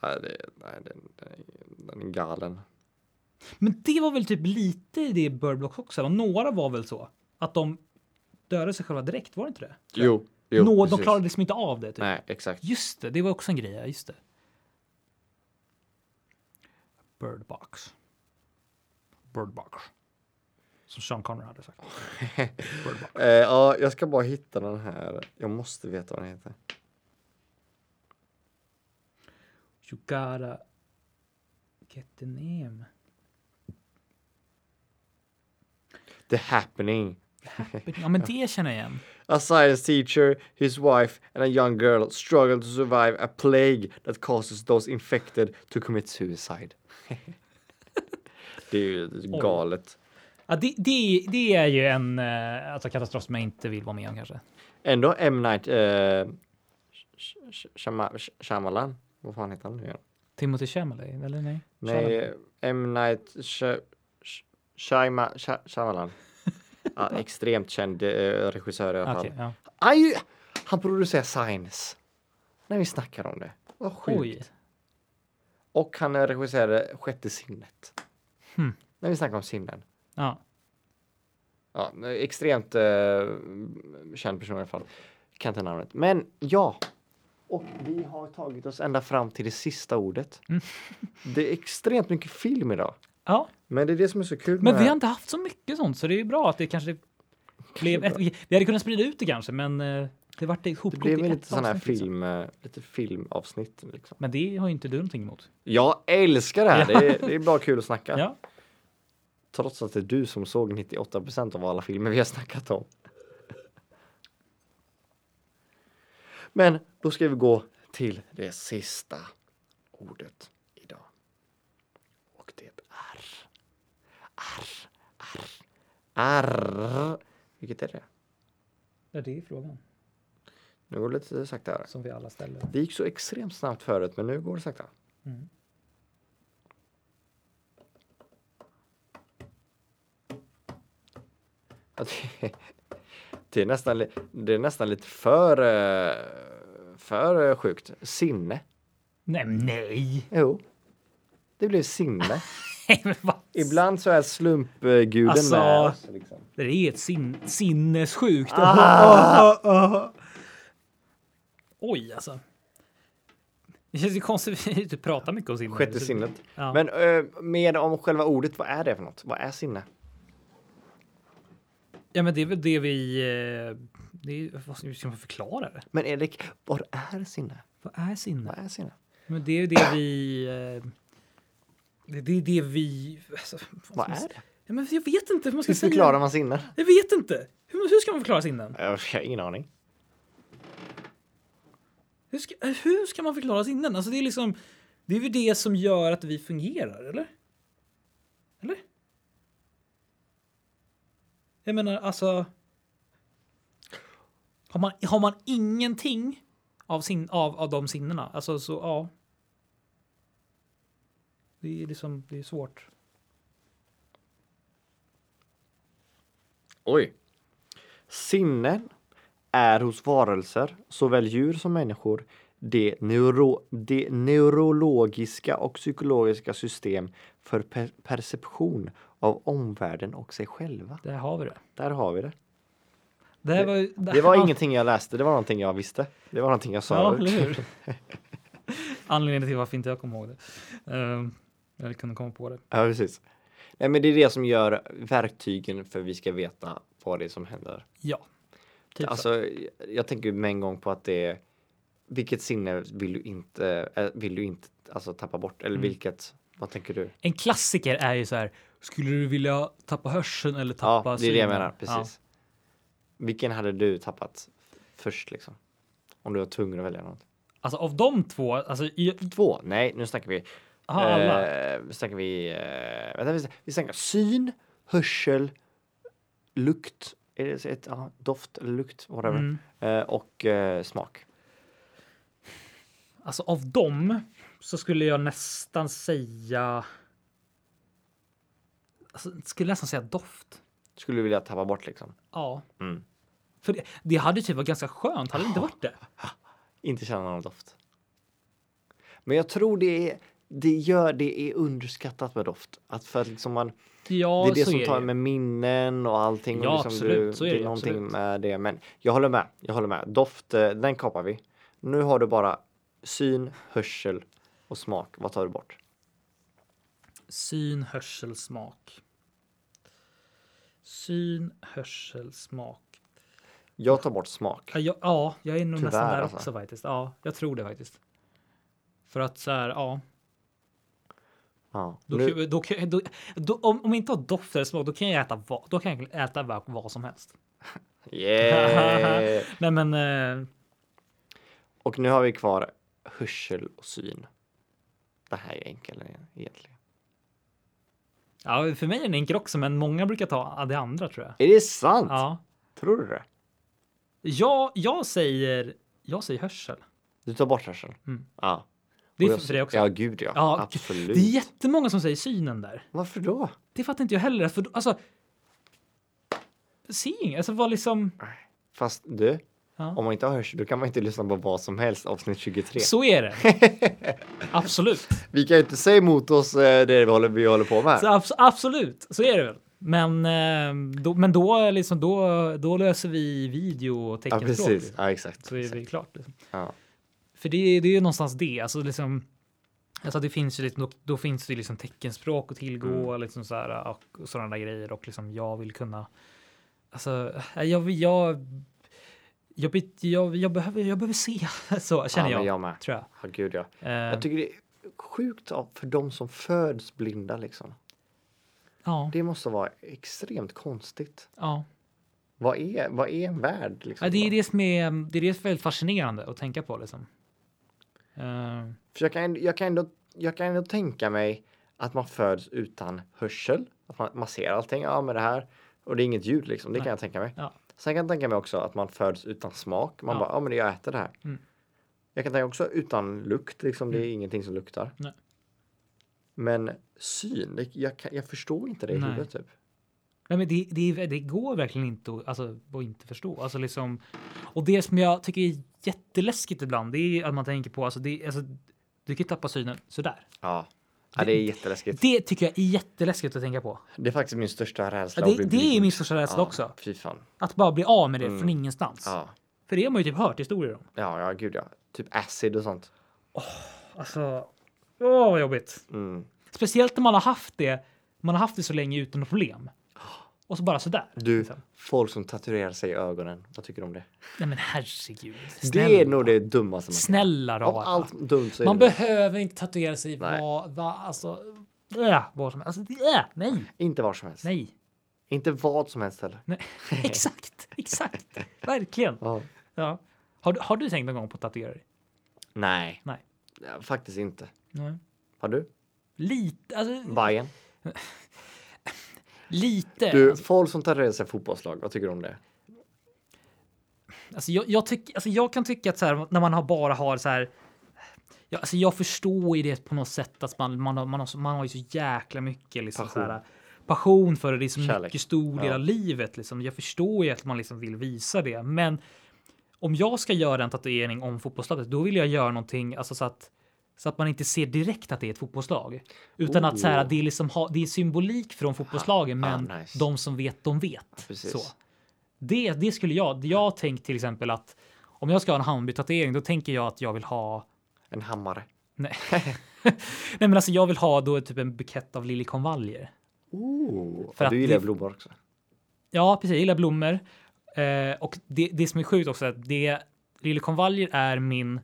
[SPEAKER 2] nej, det, nej den, den, är- den är galen.
[SPEAKER 1] Men det var väl typ lite i det Bird Box också. Och några var väl så att de dödade sig själva direkt. Var det inte det?
[SPEAKER 2] Jo, jo
[SPEAKER 1] Nå, de
[SPEAKER 2] precis.
[SPEAKER 1] klarade liksom inte av det. Typ.
[SPEAKER 2] Nej, exakt.
[SPEAKER 1] Just det, det var också en grej. ja, Just det. Bird box. Bird box. Som Sean Connery hade sagt. Bird box.
[SPEAKER 2] Eh, ja, jag ska bara hitta den här. Jag måste veta vad den heter.
[SPEAKER 1] You gotta get the name.
[SPEAKER 2] The happening.
[SPEAKER 1] Ja, men det känner jag igen.
[SPEAKER 2] A science teacher, his wife, and a young girl struggle to survive a plague that causes those infected to commit suicide. <laughs> det är ju galet.
[SPEAKER 1] Ja, det, det, det är ju en eh, alltså, katastrof som jag inte vill vara med om kanske.
[SPEAKER 2] Ändå M. Night eh, Sh- Sh- Shama- Sh- Shyamalan. Vad fan heter han nu igen?
[SPEAKER 1] Timothy Chalamet, eller nej?
[SPEAKER 2] Nej, eh, M. Night Sh- Sh- Shyama- Sh- Shyamalan. ja,
[SPEAKER 1] <laughs>
[SPEAKER 2] extremt känd eh, regissör i alla
[SPEAKER 1] Okej,
[SPEAKER 2] fall.
[SPEAKER 1] ja.
[SPEAKER 2] Han, ju- han producerar Signs. När vi snackar om det. Vad sjukt.
[SPEAKER 1] Oj.
[SPEAKER 2] Och han regisserade Sjätte sinnet.
[SPEAKER 1] Hmm.
[SPEAKER 2] När vi snackar om sinnen.
[SPEAKER 1] Ja.
[SPEAKER 2] Ja, extremt eh, känd person i alla fall. Kan inte namnet. Men ja, Och vi har tagit oss ända fram till det sista ordet.
[SPEAKER 1] Mm.
[SPEAKER 2] Det är extremt mycket film idag.
[SPEAKER 1] Ja,
[SPEAKER 2] Men det är det som är så kul
[SPEAKER 1] men
[SPEAKER 2] med
[SPEAKER 1] vi har inte haft så mycket sånt så det är ju bra att det kanske blev ett. Vi hade kunnat sprida ut det kanske, men eh, det vart
[SPEAKER 2] Det
[SPEAKER 1] ihopkokt
[SPEAKER 2] blev
[SPEAKER 1] i
[SPEAKER 2] väl
[SPEAKER 1] ett
[SPEAKER 2] lite sån här
[SPEAKER 1] avsnitt, liksom.
[SPEAKER 2] film, eh, lite filmavsnitt. Liksom.
[SPEAKER 1] Men det har ju inte du någonting emot.
[SPEAKER 2] Jag älskar det här!
[SPEAKER 1] Ja.
[SPEAKER 2] Det, är, det är bara kul att snacka.
[SPEAKER 1] Ja,
[SPEAKER 2] Trots att det är du som såg 98% av alla filmer vi har snackat om. Men då ska vi gå till det sista ordet idag. Och det är R. R. R. Vilket är det?
[SPEAKER 1] ja det är frågan
[SPEAKER 2] Nu går det lite saktare.
[SPEAKER 1] som vi alla ställer.
[SPEAKER 2] Det gick så extremt snabbt förut, men nu går det sakta.
[SPEAKER 1] Mm.
[SPEAKER 2] Ja, det, <laughs> det, är nästan, li- det är nästan lite för, eh, för eh, sjukt. Sinne.
[SPEAKER 1] Nej, men nej! <laughs>
[SPEAKER 2] Jo. Det blev sinne.
[SPEAKER 1] Nej, men vad?
[SPEAKER 2] Ibland så är slumpguden
[SPEAKER 1] Alltså-
[SPEAKER 2] med oss. Liksom.
[SPEAKER 1] Det är ett sin sinnessjukt.
[SPEAKER 2] Ah.
[SPEAKER 1] <laughs> Oj, alltså. Det känns ju konstigt <laughs> att vi inte pratar mycket om sinne.
[SPEAKER 2] Sjätte sinnet.
[SPEAKER 1] Ja.
[SPEAKER 2] Men eh, mer om själva ordet, vad är det för något? Vad är sinne?
[SPEAKER 1] Ja, men det är väl det vi... eh, Det är, vad ska hur ska man förklara det?
[SPEAKER 2] Men Erik, vad är sinne?
[SPEAKER 1] Vad är sinne?
[SPEAKER 2] Vad är sinne?
[SPEAKER 1] Men det är ju det vi... eh, Det, det är det vi... Alltså, ska
[SPEAKER 2] Vad
[SPEAKER 1] man
[SPEAKER 2] är
[SPEAKER 1] s-
[SPEAKER 2] det?
[SPEAKER 1] Ja, men jag vet inte hur man ska
[SPEAKER 2] Hur
[SPEAKER 1] säga.
[SPEAKER 2] förklarar man sinne?
[SPEAKER 1] Jag vet inte. Hur, hur ska man förklara sinnen?
[SPEAKER 2] Eh, Jag har ingen aning.
[SPEAKER 1] Hur ska, hur ska man förklara sinnen? Alltså, det är liksom... Det är ju det som gör att vi fungerar, eller? Eller? Jag menar, alltså... Har man, har man ingenting av, sin, av, av de sinnena, alltså så ja. Det är liksom, det är svårt.
[SPEAKER 2] Oj. Sinnen är hos varelser, såväl djur som människor, det, neuro, det neurologiska och psykologiska system för per perception av omvärlden och sig själva.
[SPEAKER 1] Där har vi det.
[SPEAKER 2] Där har vi det.
[SPEAKER 1] Det, här var, ju-
[SPEAKER 2] Det var ingenting jag läste, det var någonting jag visste. Det var någonting jag
[SPEAKER 1] Ja,
[SPEAKER 2] sa.
[SPEAKER 1] eller hur? Anledningen till varför inte jag kommer ihåg det. Ehm, eller kunde komma på det.
[SPEAKER 2] Ja, precis. Nej, men det är det som gör verktygen för vi ska veta vad det är som händer.
[SPEAKER 1] Ja. Typ så.
[SPEAKER 2] Alltså, jag tänker med en gång på att det är vilket sinne vill du inte, eh, vill du inte alltså, tappa bort? Eller
[SPEAKER 1] Mm.
[SPEAKER 2] vilket, vad tänker du?
[SPEAKER 1] En klassiker är ju så här. Skulle du vilja tappa hörseln eller
[SPEAKER 2] Ja,
[SPEAKER 1] tappa
[SPEAKER 2] det är det
[SPEAKER 1] synen?
[SPEAKER 2] jag menar, precis. Vilken hade du tappat först liksom? Om du var tvungen att välja något.
[SPEAKER 1] Ja. Alltså av de två, alltså i,
[SPEAKER 2] Två, nej nu snackar vi.
[SPEAKER 1] aha, alla.
[SPEAKER 2] Eh, snackar vi, eh, vänta, vi, vi snackar syn, hörsel, lukt, är det ett, ja, doft, eller lukt, whatever.
[SPEAKER 1] Mm.
[SPEAKER 2] Eh, och eh, smak.
[SPEAKER 1] Alltså av dem så skulle jag nästan säga. Alltså, skulle nästan säga doft.
[SPEAKER 2] Skulle du vilja tappa bort liksom?
[SPEAKER 1] Ja,
[SPEAKER 2] Mm.
[SPEAKER 1] för det, det hade typ varit ganska skönt. Hade det inte varit det?
[SPEAKER 2] Inte känna någon doft. Men jag tror det är, det gör, det är underskattat med doft. Att för att liksom man,
[SPEAKER 1] Ja,
[SPEAKER 2] det är det
[SPEAKER 1] så
[SPEAKER 2] som
[SPEAKER 1] är
[SPEAKER 2] tar
[SPEAKER 1] det.
[SPEAKER 2] med minnen och allting. och
[SPEAKER 1] Ja,
[SPEAKER 2] liksom
[SPEAKER 1] absolut,
[SPEAKER 2] Du,
[SPEAKER 1] så är
[SPEAKER 2] det
[SPEAKER 1] det,
[SPEAKER 2] är någonting
[SPEAKER 1] absolut.
[SPEAKER 2] med det. Men jag håller med, jag håller med. Doft, eh, den kapar vi. Nu har du bara syn, hörsel och smak. Vad tar du bort?
[SPEAKER 1] Syn, hörsel, smak. Syn, hörsel, smak.
[SPEAKER 2] Jag tar bort smak.
[SPEAKER 1] Ja, jag, ja, jag är nog nästan
[SPEAKER 2] Tyvärr,
[SPEAKER 1] där
[SPEAKER 2] alltså.
[SPEAKER 1] också faktiskt. Ja, jag tror det faktiskt. För att så här, ja.
[SPEAKER 2] Ja.
[SPEAKER 1] Då,
[SPEAKER 2] Nu,
[SPEAKER 1] kan- då, kan- då, då, om, om jag inte har doft eller smak, då kan jag äta vad, då kan jag äta vad, vad som helst.
[SPEAKER 2] yeah.
[SPEAKER 1] Nej, men eh,
[SPEAKER 2] Och nu har vi kvar hörsel och syn. Det här är enklare egentligen.
[SPEAKER 1] ja, för mig är den enkel också, men många brukar ta det andra tror jag.
[SPEAKER 2] Är det sant?
[SPEAKER 1] Ja,
[SPEAKER 2] Tror du det?
[SPEAKER 1] jag, jag säger. Jag säger hörsel.
[SPEAKER 2] Du tar bort hörseln?
[SPEAKER 1] Mm.
[SPEAKER 2] Ja.
[SPEAKER 1] Det
[SPEAKER 2] Och
[SPEAKER 1] är
[SPEAKER 2] jag-
[SPEAKER 1] för det också.
[SPEAKER 2] Ja, gud ja.
[SPEAKER 1] Ja,
[SPEAKER 2] Absolut.
[SPEAKER 1] Det är jättemånga som säger synen där.
[SPEAKER 2] Varför då?
[SPEAKER 1] Det fattar inte jag heller. För, då- alltså, seeing, alltså vad liksom...
[SPEAKER 2] Fast du,
[SPEAKER 1] Ja.
[SPEAKER 2] om man inte har hörsel, då kan man inte lyssna på vad som helst avsnitt 23.
[SPEAKER 1] Så är
[SPEAKER 2] <laughs>
[SPEAKER 1] det. Absolut.
[SPEAKER 2] Vi kan ju inte säga emot oss eh, det vi håller, vi håller på med. här.
[SPEAKER 1] Så abs- absolut, så är det väl. Men, eh, då, men då, liksom, då, då löser vi video och
[SPEAKER 2] ja,
[SPEAKER 1] teckenspråk.
[SPEAKER 2] precis.
[SPEAKER 1] liksom.
[SPEAKER 2] Ja, exakt.
[SPEAKER 1] Så är
[SPEAKER 2] exakt.
[SPEAKER 1] det klart. Liksom.
[SPEAKER 2] Ja.
[SPEAKER 1] För det, det är ju någonstans det. Alltså liksom, alltså det finns ju lite, då, då finns det ju liksom teckenspråk att tillgå
[SPEAKER 2] Mm.
[SPEAKER 1] liksom så här, och, och sådana där grejer. Och liksom jag vill kunna... Alltså, nej, jag... jag jag, byt- jag, jag, behöver, jag behöver se, <laughs> så känner
[SPEAKER 2] ja, men
[SPEAKER 1] jag.
[SPEAKER 2] jag med.
[SPEAKER 1] Tror jag.
[SPEAKER 2] Ja, gud ja.
[SPEAKER 1] Eh,
[SPEAKER 2] Jag tycker det är sjukt av- för de som föds blinda liksom.
[SPEAKER 1] ja,
[SPEAKER 2] Det måste vara extremt konstigt.
[SPEAKER 1] ja.
[SPEAKER 2] Vad är, vad är en värld? Liksom?
[SPEAKER 1] Ja, det är det som är, det är det som är väldigt fascinerande att tänka på liksom. Eh,
[SPEAKER 2] För jag, kan, jag, kan ändå, jag kan ändå tänka mig att man föds utan hörsel. Att man, man ser allting. Ja, men det här. Och det är inget ljud liksom. Det
[SPEAKER 1] Nej.
[SPEAKER 2] kan jag tänka mig.
[SPEAKER 1] Ja.
[SPEAKER 2] Sen kan jag tänka mig också att man föds utan smak. Man
[SPEAKER 1] Ja.
[SPEAKER 2] bara, ja men jag äter det här.
[SPEAKER 1] Mm.
[SPEAKER 2] Jag kan tänka också utan lukt. Liksom, det är ingenting som luktar.
[SPEAKER 1] Nej.
[SPEAKER 2] Men syn, det, jag, kan, jag förstår inte det i
[SPEAKER 1] Nej.
[SPEAKER 2] huvudet typ.
[SPEAKER 1] Nej, men det, det, är- det går verkligen inte att, alltså, att inte förstå. Alltså, liksom, och det som jag tycker är jätteläskigt ibland, det är att man tänker på alltså, det, alltså, du kan ju tappa synen sådär.
[SPEAKER 2] Ja. ja, det är jätteläskigt.
[SPEAKER 1] Det tycker jag är jätteläskigt att tänka på.
[SPEAKER 2] Det är faktiskt min största rädsla.
[SPEAKER 1] Ja, det-
[SPEAKER 2] att bli
[SPEAKER 1] det är
[SPEAKER 2] blind.
[SPEAKER 1] min största rädsla
[SPEAKER 2] ja,
[SPEAKER 1] också.
[SPEAKER 2] Fy fan.
[SPEAKER 1] Att bara bli av med det från
[SPEAKER 2] Mm.
[SPEAKER 1] ingenstans.
[SPEAKER 2] Ja.
[SPEAKER 1] För det har man ju typ hört historier om.
[SPEAKER 2] ja, ja, gud ja. Typ acid och sånt.
[SPEAKER 1] Alltså, åh vad jobbigt.
[SPEAKER 2] Mm.
[SPEAKER 1] Speciellt när man har haft det, man har haft det så länge utan något problem. Och så bara sådär.
[SPEAKER 2] Du,
[SPEAKER 1] liksom.
[SPEAKER 2] folk som tatuerar sig i ögonen. Vad tycker du om det?
[SPEAKER 1] Nej men herregud.
[SPEAKER 2] Det är
[SPEAKER 1] snälla.
[SPEAKER 2] nog det dummaste man kan
[SPEAKER 1] Snälla
[SPEAKER 2] göra. Av
[SPEAKER 1] rara.
[SPEAKER 2] allt dumt så är
[SPEAKER 1] Man
[SPEAKER 2] det
[SPEAKER 1] behöver inte tatuera sig
[SPEAKER 2] Nej.
[SPEAKER 1] vad, vad, alltså, äh, vad som helst. Alltså, det är, nej,
[SPEAKER 2] Inte var som helst.
[SPEAKER 1] nej,
[SPEAKER 2] Inte vad som helst heller. <laughs>
[SPEAKER 1] nej. exakt, exakt, verkligen.
[SPEAKER 2] Ja.
[SPEAKER 1] Ja. Har, du- har du tänkt någon gång på att tatuera dig?
[SPEAKER 2] Nej.
[SPEAKER 1] Nej.
[SPEAKER 2] Ja, faktiskt inte.
[SPEAKER 1] Nej.
[SPEAKER 2] Har du?
[SPEAKER 1] Lite, alltså,
[SPEAKER 2] Bajen.
[SPEAKER 1] lite.
[SPEAKER 2] Du, folk som tatuerar sig i fotbollslag. Vad tycker du om det?
[SPEAKER 1] Alltså, jag, jag, tyck, alltså, jag kan tycka att så här, när man har bara har så här. Ja, alltså, jag förstår ju det på något sätt att man, man, har, man, har, så- man har ju så jäkla mycket liksom,
[SPEAKER 2] Passion.
[SPEAKER 1] passion. Så här, passion för det. Det är så
[SPEAKER 2] Kärlek.
[SPEAKER 1] mycket stor del
[SPEAKER 2] Ja.
[SPEAKER 1] av livet. Liksom. Jag förstår ju att man liksom vill visa det, men om jag ska göra en tatuering om fotbollslaget, då vill jag göra någonting alltså, så att så att man inte ser direkt att det är ett fotbollslag, utan att så här,
[SPEAKER 2] Oh.
[SPEAKER 1] det är liksom ha, det är symbolik från fotbollslagen,
[SPEAKER 2] Ah,
[SPEAKER 1] men
[SPEAKER 2] nice.
[SPEAKER 1] de som vet, de vet.
[SPEAKER 2] precis.
[SPEAKER 1] så. Det, det skulle jag. Jag har tänkt till exempel att om jag ska ha en Hammarby-tatuering, då tänker jag att jag vill ha.
[SPEAKER 2] En hammare. <laughs>
[SPEAKER 1] Nej, nej men alltså, jag vill ha då typ en bukett av liljekonvaljer.
[SPEAKER 2] Ooh.
[SPEAKER 1] För
[SPEAKER 2] ja,
[SPEAKER 1] att
[SPEAKER 2] du gillar
[SPEAKER 1] det-
[SPEAKER 2] blommor också.
[SPEAKER 1] Ja, precis. Jag gillar blommor. Eh, och det, det som är sjukt också är att det liljekonvaljer är min.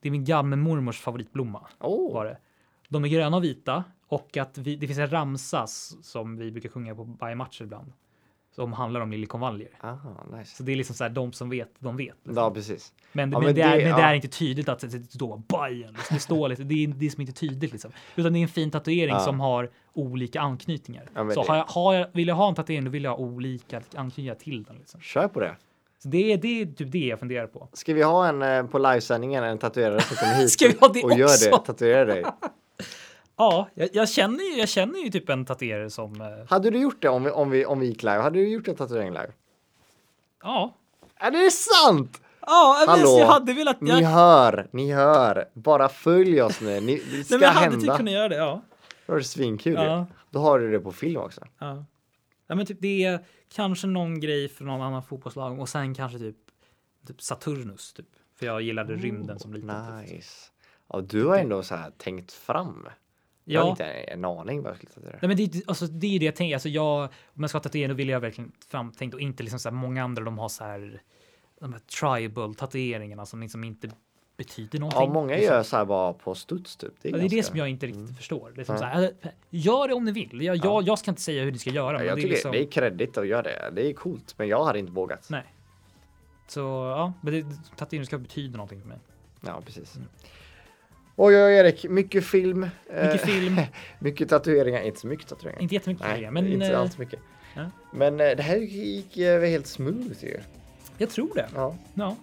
[SPEAKER 1] Det är min gammelmormors favoritblomma
[SPEAKER 2] Åh.
[SPEAKER 1] var det. De är gröna och vita och att vi, det finns en ramsa s- som vi brukar sjunga på Bajen-matcher ibland som handlar om liljekonvaljer.
[SPEAKER 2] Ah, nice.
[SPEAKER 1] Så det är liksom så här de som vet, de vet.
[SPEAKER 2] Ja, precis.
[SPEAKER 1] Men,
[SPEAKER 2] Ja,
[SPEAKER 1] men,
[SPEAKER 2] men
[SPEAKER 1] det, är,
[SPEAKER 2] det-
[SPEAKER 1] men det
[SPEAKER 2] ja.
[SPEAKER 1] är inte tydligt att det- det står Bayern. Liksom. Det står liksom, det, är, det är som inte tydligt liksom. Utan det är en fin tatuering
[SPEAKER 2] Ja.
[SPEAKER 1] som har olika anknytningar.
[SPEAKER 2] Ja, men
[SPEAKER 1] så
[SPEAKER 2] det-
[SPEAKER 1] har jag, har jag, vill jag ha en tatuering då vill jag ha olika anknytningar till den. Liksom.
[SPEAKER 2] Kör på det.
[SPEAKER 1] Så det, är, det är typ det jag funderar på.
[SPEAKER 2] Ska vi ha en eh, på livesändningen, en tatuerare
[SPEAKER 1] <laughs>
[SPEAKER 2] som kommer hit
[SPEAKER 1] Ska vi ha det
[SPEAKER 2] och gör
[SPEAKER 1] också?
[SPEAKER 2] det, tatuerar dig?
[SPEAKER 1] Ja, jag, jag, känner, ju, jag känner ju typ en tatuerare som... eh,
[SPEAKER 2] Hade du gjort det om vi, om vi, om vi gick live? Hade du gjort en tatuering live?
[SPEAKER 1] Ja.
[SPEAKER 2] Är det sant?
[SPEAKER 1] Ja, men
[SPEAKER 2] Hallå.
[SPEAKER 1] jag hade velat... Jag,
[SPEAKER 2] Ni hör, ni hör. Bara följ oss
[SPEAKER 1] <laughs>
[SPEAKER 2] nu. Ni, det ska
[SPEAKER 1] nej, men jag hade
[SPEAKER 2] hända.
[SPEAKER 1] typ kunnat göra det. Ja.
[SPEAKER 2] Då är det svinkul ju.
[SPEAKER 1] Ja.
[SPEAKER 2] Då har du det på film också.
[SPEAKER 1] Ja. ja, men typ det är kanske någon grej från någon annan fotbollslag och sen kanske typ, typ Saturnus typ. För jag gillade rymden som liten. typ.
[SPEAKER 2] Nice. Ja, du har ändå så här tänkt fram. Jag har
[SPEAKER 1] Ja,
[SPEAKER 2] inte en aning vad jag skulle tatuera.
[SPEAKER 1] nej, men det, alltså, det är ju det jag tänker. Alltså, jag, om jag ska tatuera då vill jag verkligen framtänkt och inte liksom så här många andra. De har så här de här tribal tatueringarna som liksom inte betyder någonting.
[SPEAKER 2] Ja, många
[SPEAKER 1] liksom.
[SPEAKER 2] gör så här bara på studs typ. Det är,
[SPEAKER 1] Ja, det är
[SPEAKER 2] ganska... Mm.
[SPEAKER 1] det som jag inte riktigt förstår. Det är som så här, äh, gör det om ni vill. Jag, jag, jag ska inte säga hur ni ska göra.
[SPEAKER 2] Ja,
[SPEAKER 1] men
[SPEAKER 2] jag
[SPEAKER 1] det är
[SPEAKER 2] tycker
[SPEAKER 1] liksom...
[SPEAKER 2] det är kredit att göra det. Det är coolt, men jag hade inte vågat.
[SPEAKER 1] Nej. Så ja, men det, tatueringen ska betyda någonting för mig.
[SPEAKER 2] Ja, precis. Oj, oj, Erik. Mycket film. Eh,
[SPEAKER 1] Mycket film,
[SPEAKER 2] <laughs> Mycket tatueringar. Inte så mycket tatueringar.
[SPEAKER 1] inte jättemycket
[SPEAKER 2] Nej,
[SPEAKER 1] tatueringar, men
[SPEAKER 2] inte
[SPEAKER 1] eh,
[SPEAKER 2] alls mycket.
[SPEAKER 1] ja.
[SPEAKER 2] Men eh, det här gick eh, helt smooth ju.
[SPEAKER 1] jag tror det.
[SPEAKER 2] Ja.
[SPEAKER 1] Ja.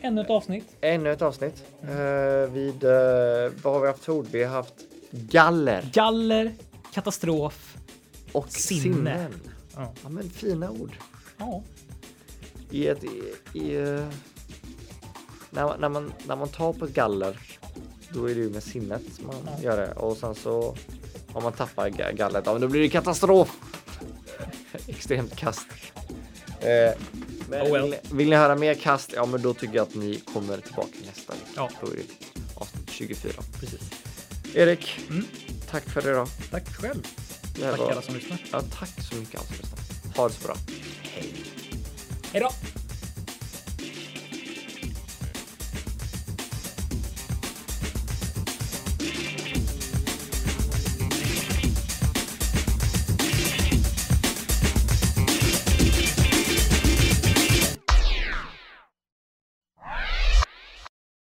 [SPEAKER 1] Ännu ett avsnitt.
[SPEAKER 2] Ännu ett avsnitt.
[SPEAKER 1] Mm.
[SPEAKER 2] Eh, vid, eh, vad har vi haft för ord? Vi har haft galler
[SPEAKER 1] Galler, katastrof.
[SPEAKER 2] och
[SPEAKER 1] Sinne.
[SPEAKER 2] sinnen.
[SPEAKER 1] Ja.
[SPEAKER 2] Ja, men fina ord.
[SPEAKER 1] ja.
[SPEAKER 2] I ett... I, i, eh, när, när, man, när man tar på ett galler, då är det ju med sinnet man
[SPEAKER 1] Ja.
[SPEAKER 2] gör det. Och sen så, om man tappar ga- <laughs> gallret, ja, men då blir det katastrof. Extremt kast. Eh,
[SPEAKER 1] Oh well.
[SPEAKER 2] Vill- Vill ni höra mer kast? Ja, men då tycker jag att ni kommer tillbaka nästa vecka.
[SPEAKER 1] Ja.
[SPEAKER 2] Då är det avsnitt 24. Precis. Erik,
[SPEAKER 1] Mm.
[SPEAKER 2] tack för idag.
[SPEAKER 1] Tack själv.
[SPEAKER 2] Det här
[SPEAKER 1] Tack
[SPEAKER 2] var-
[SPEAKER 1] alla som lyssnar.
[SPEAKER 2] Ja, tack så mycket. Alltså. Ha det så bra.
[SPEAKER 1] Hej då!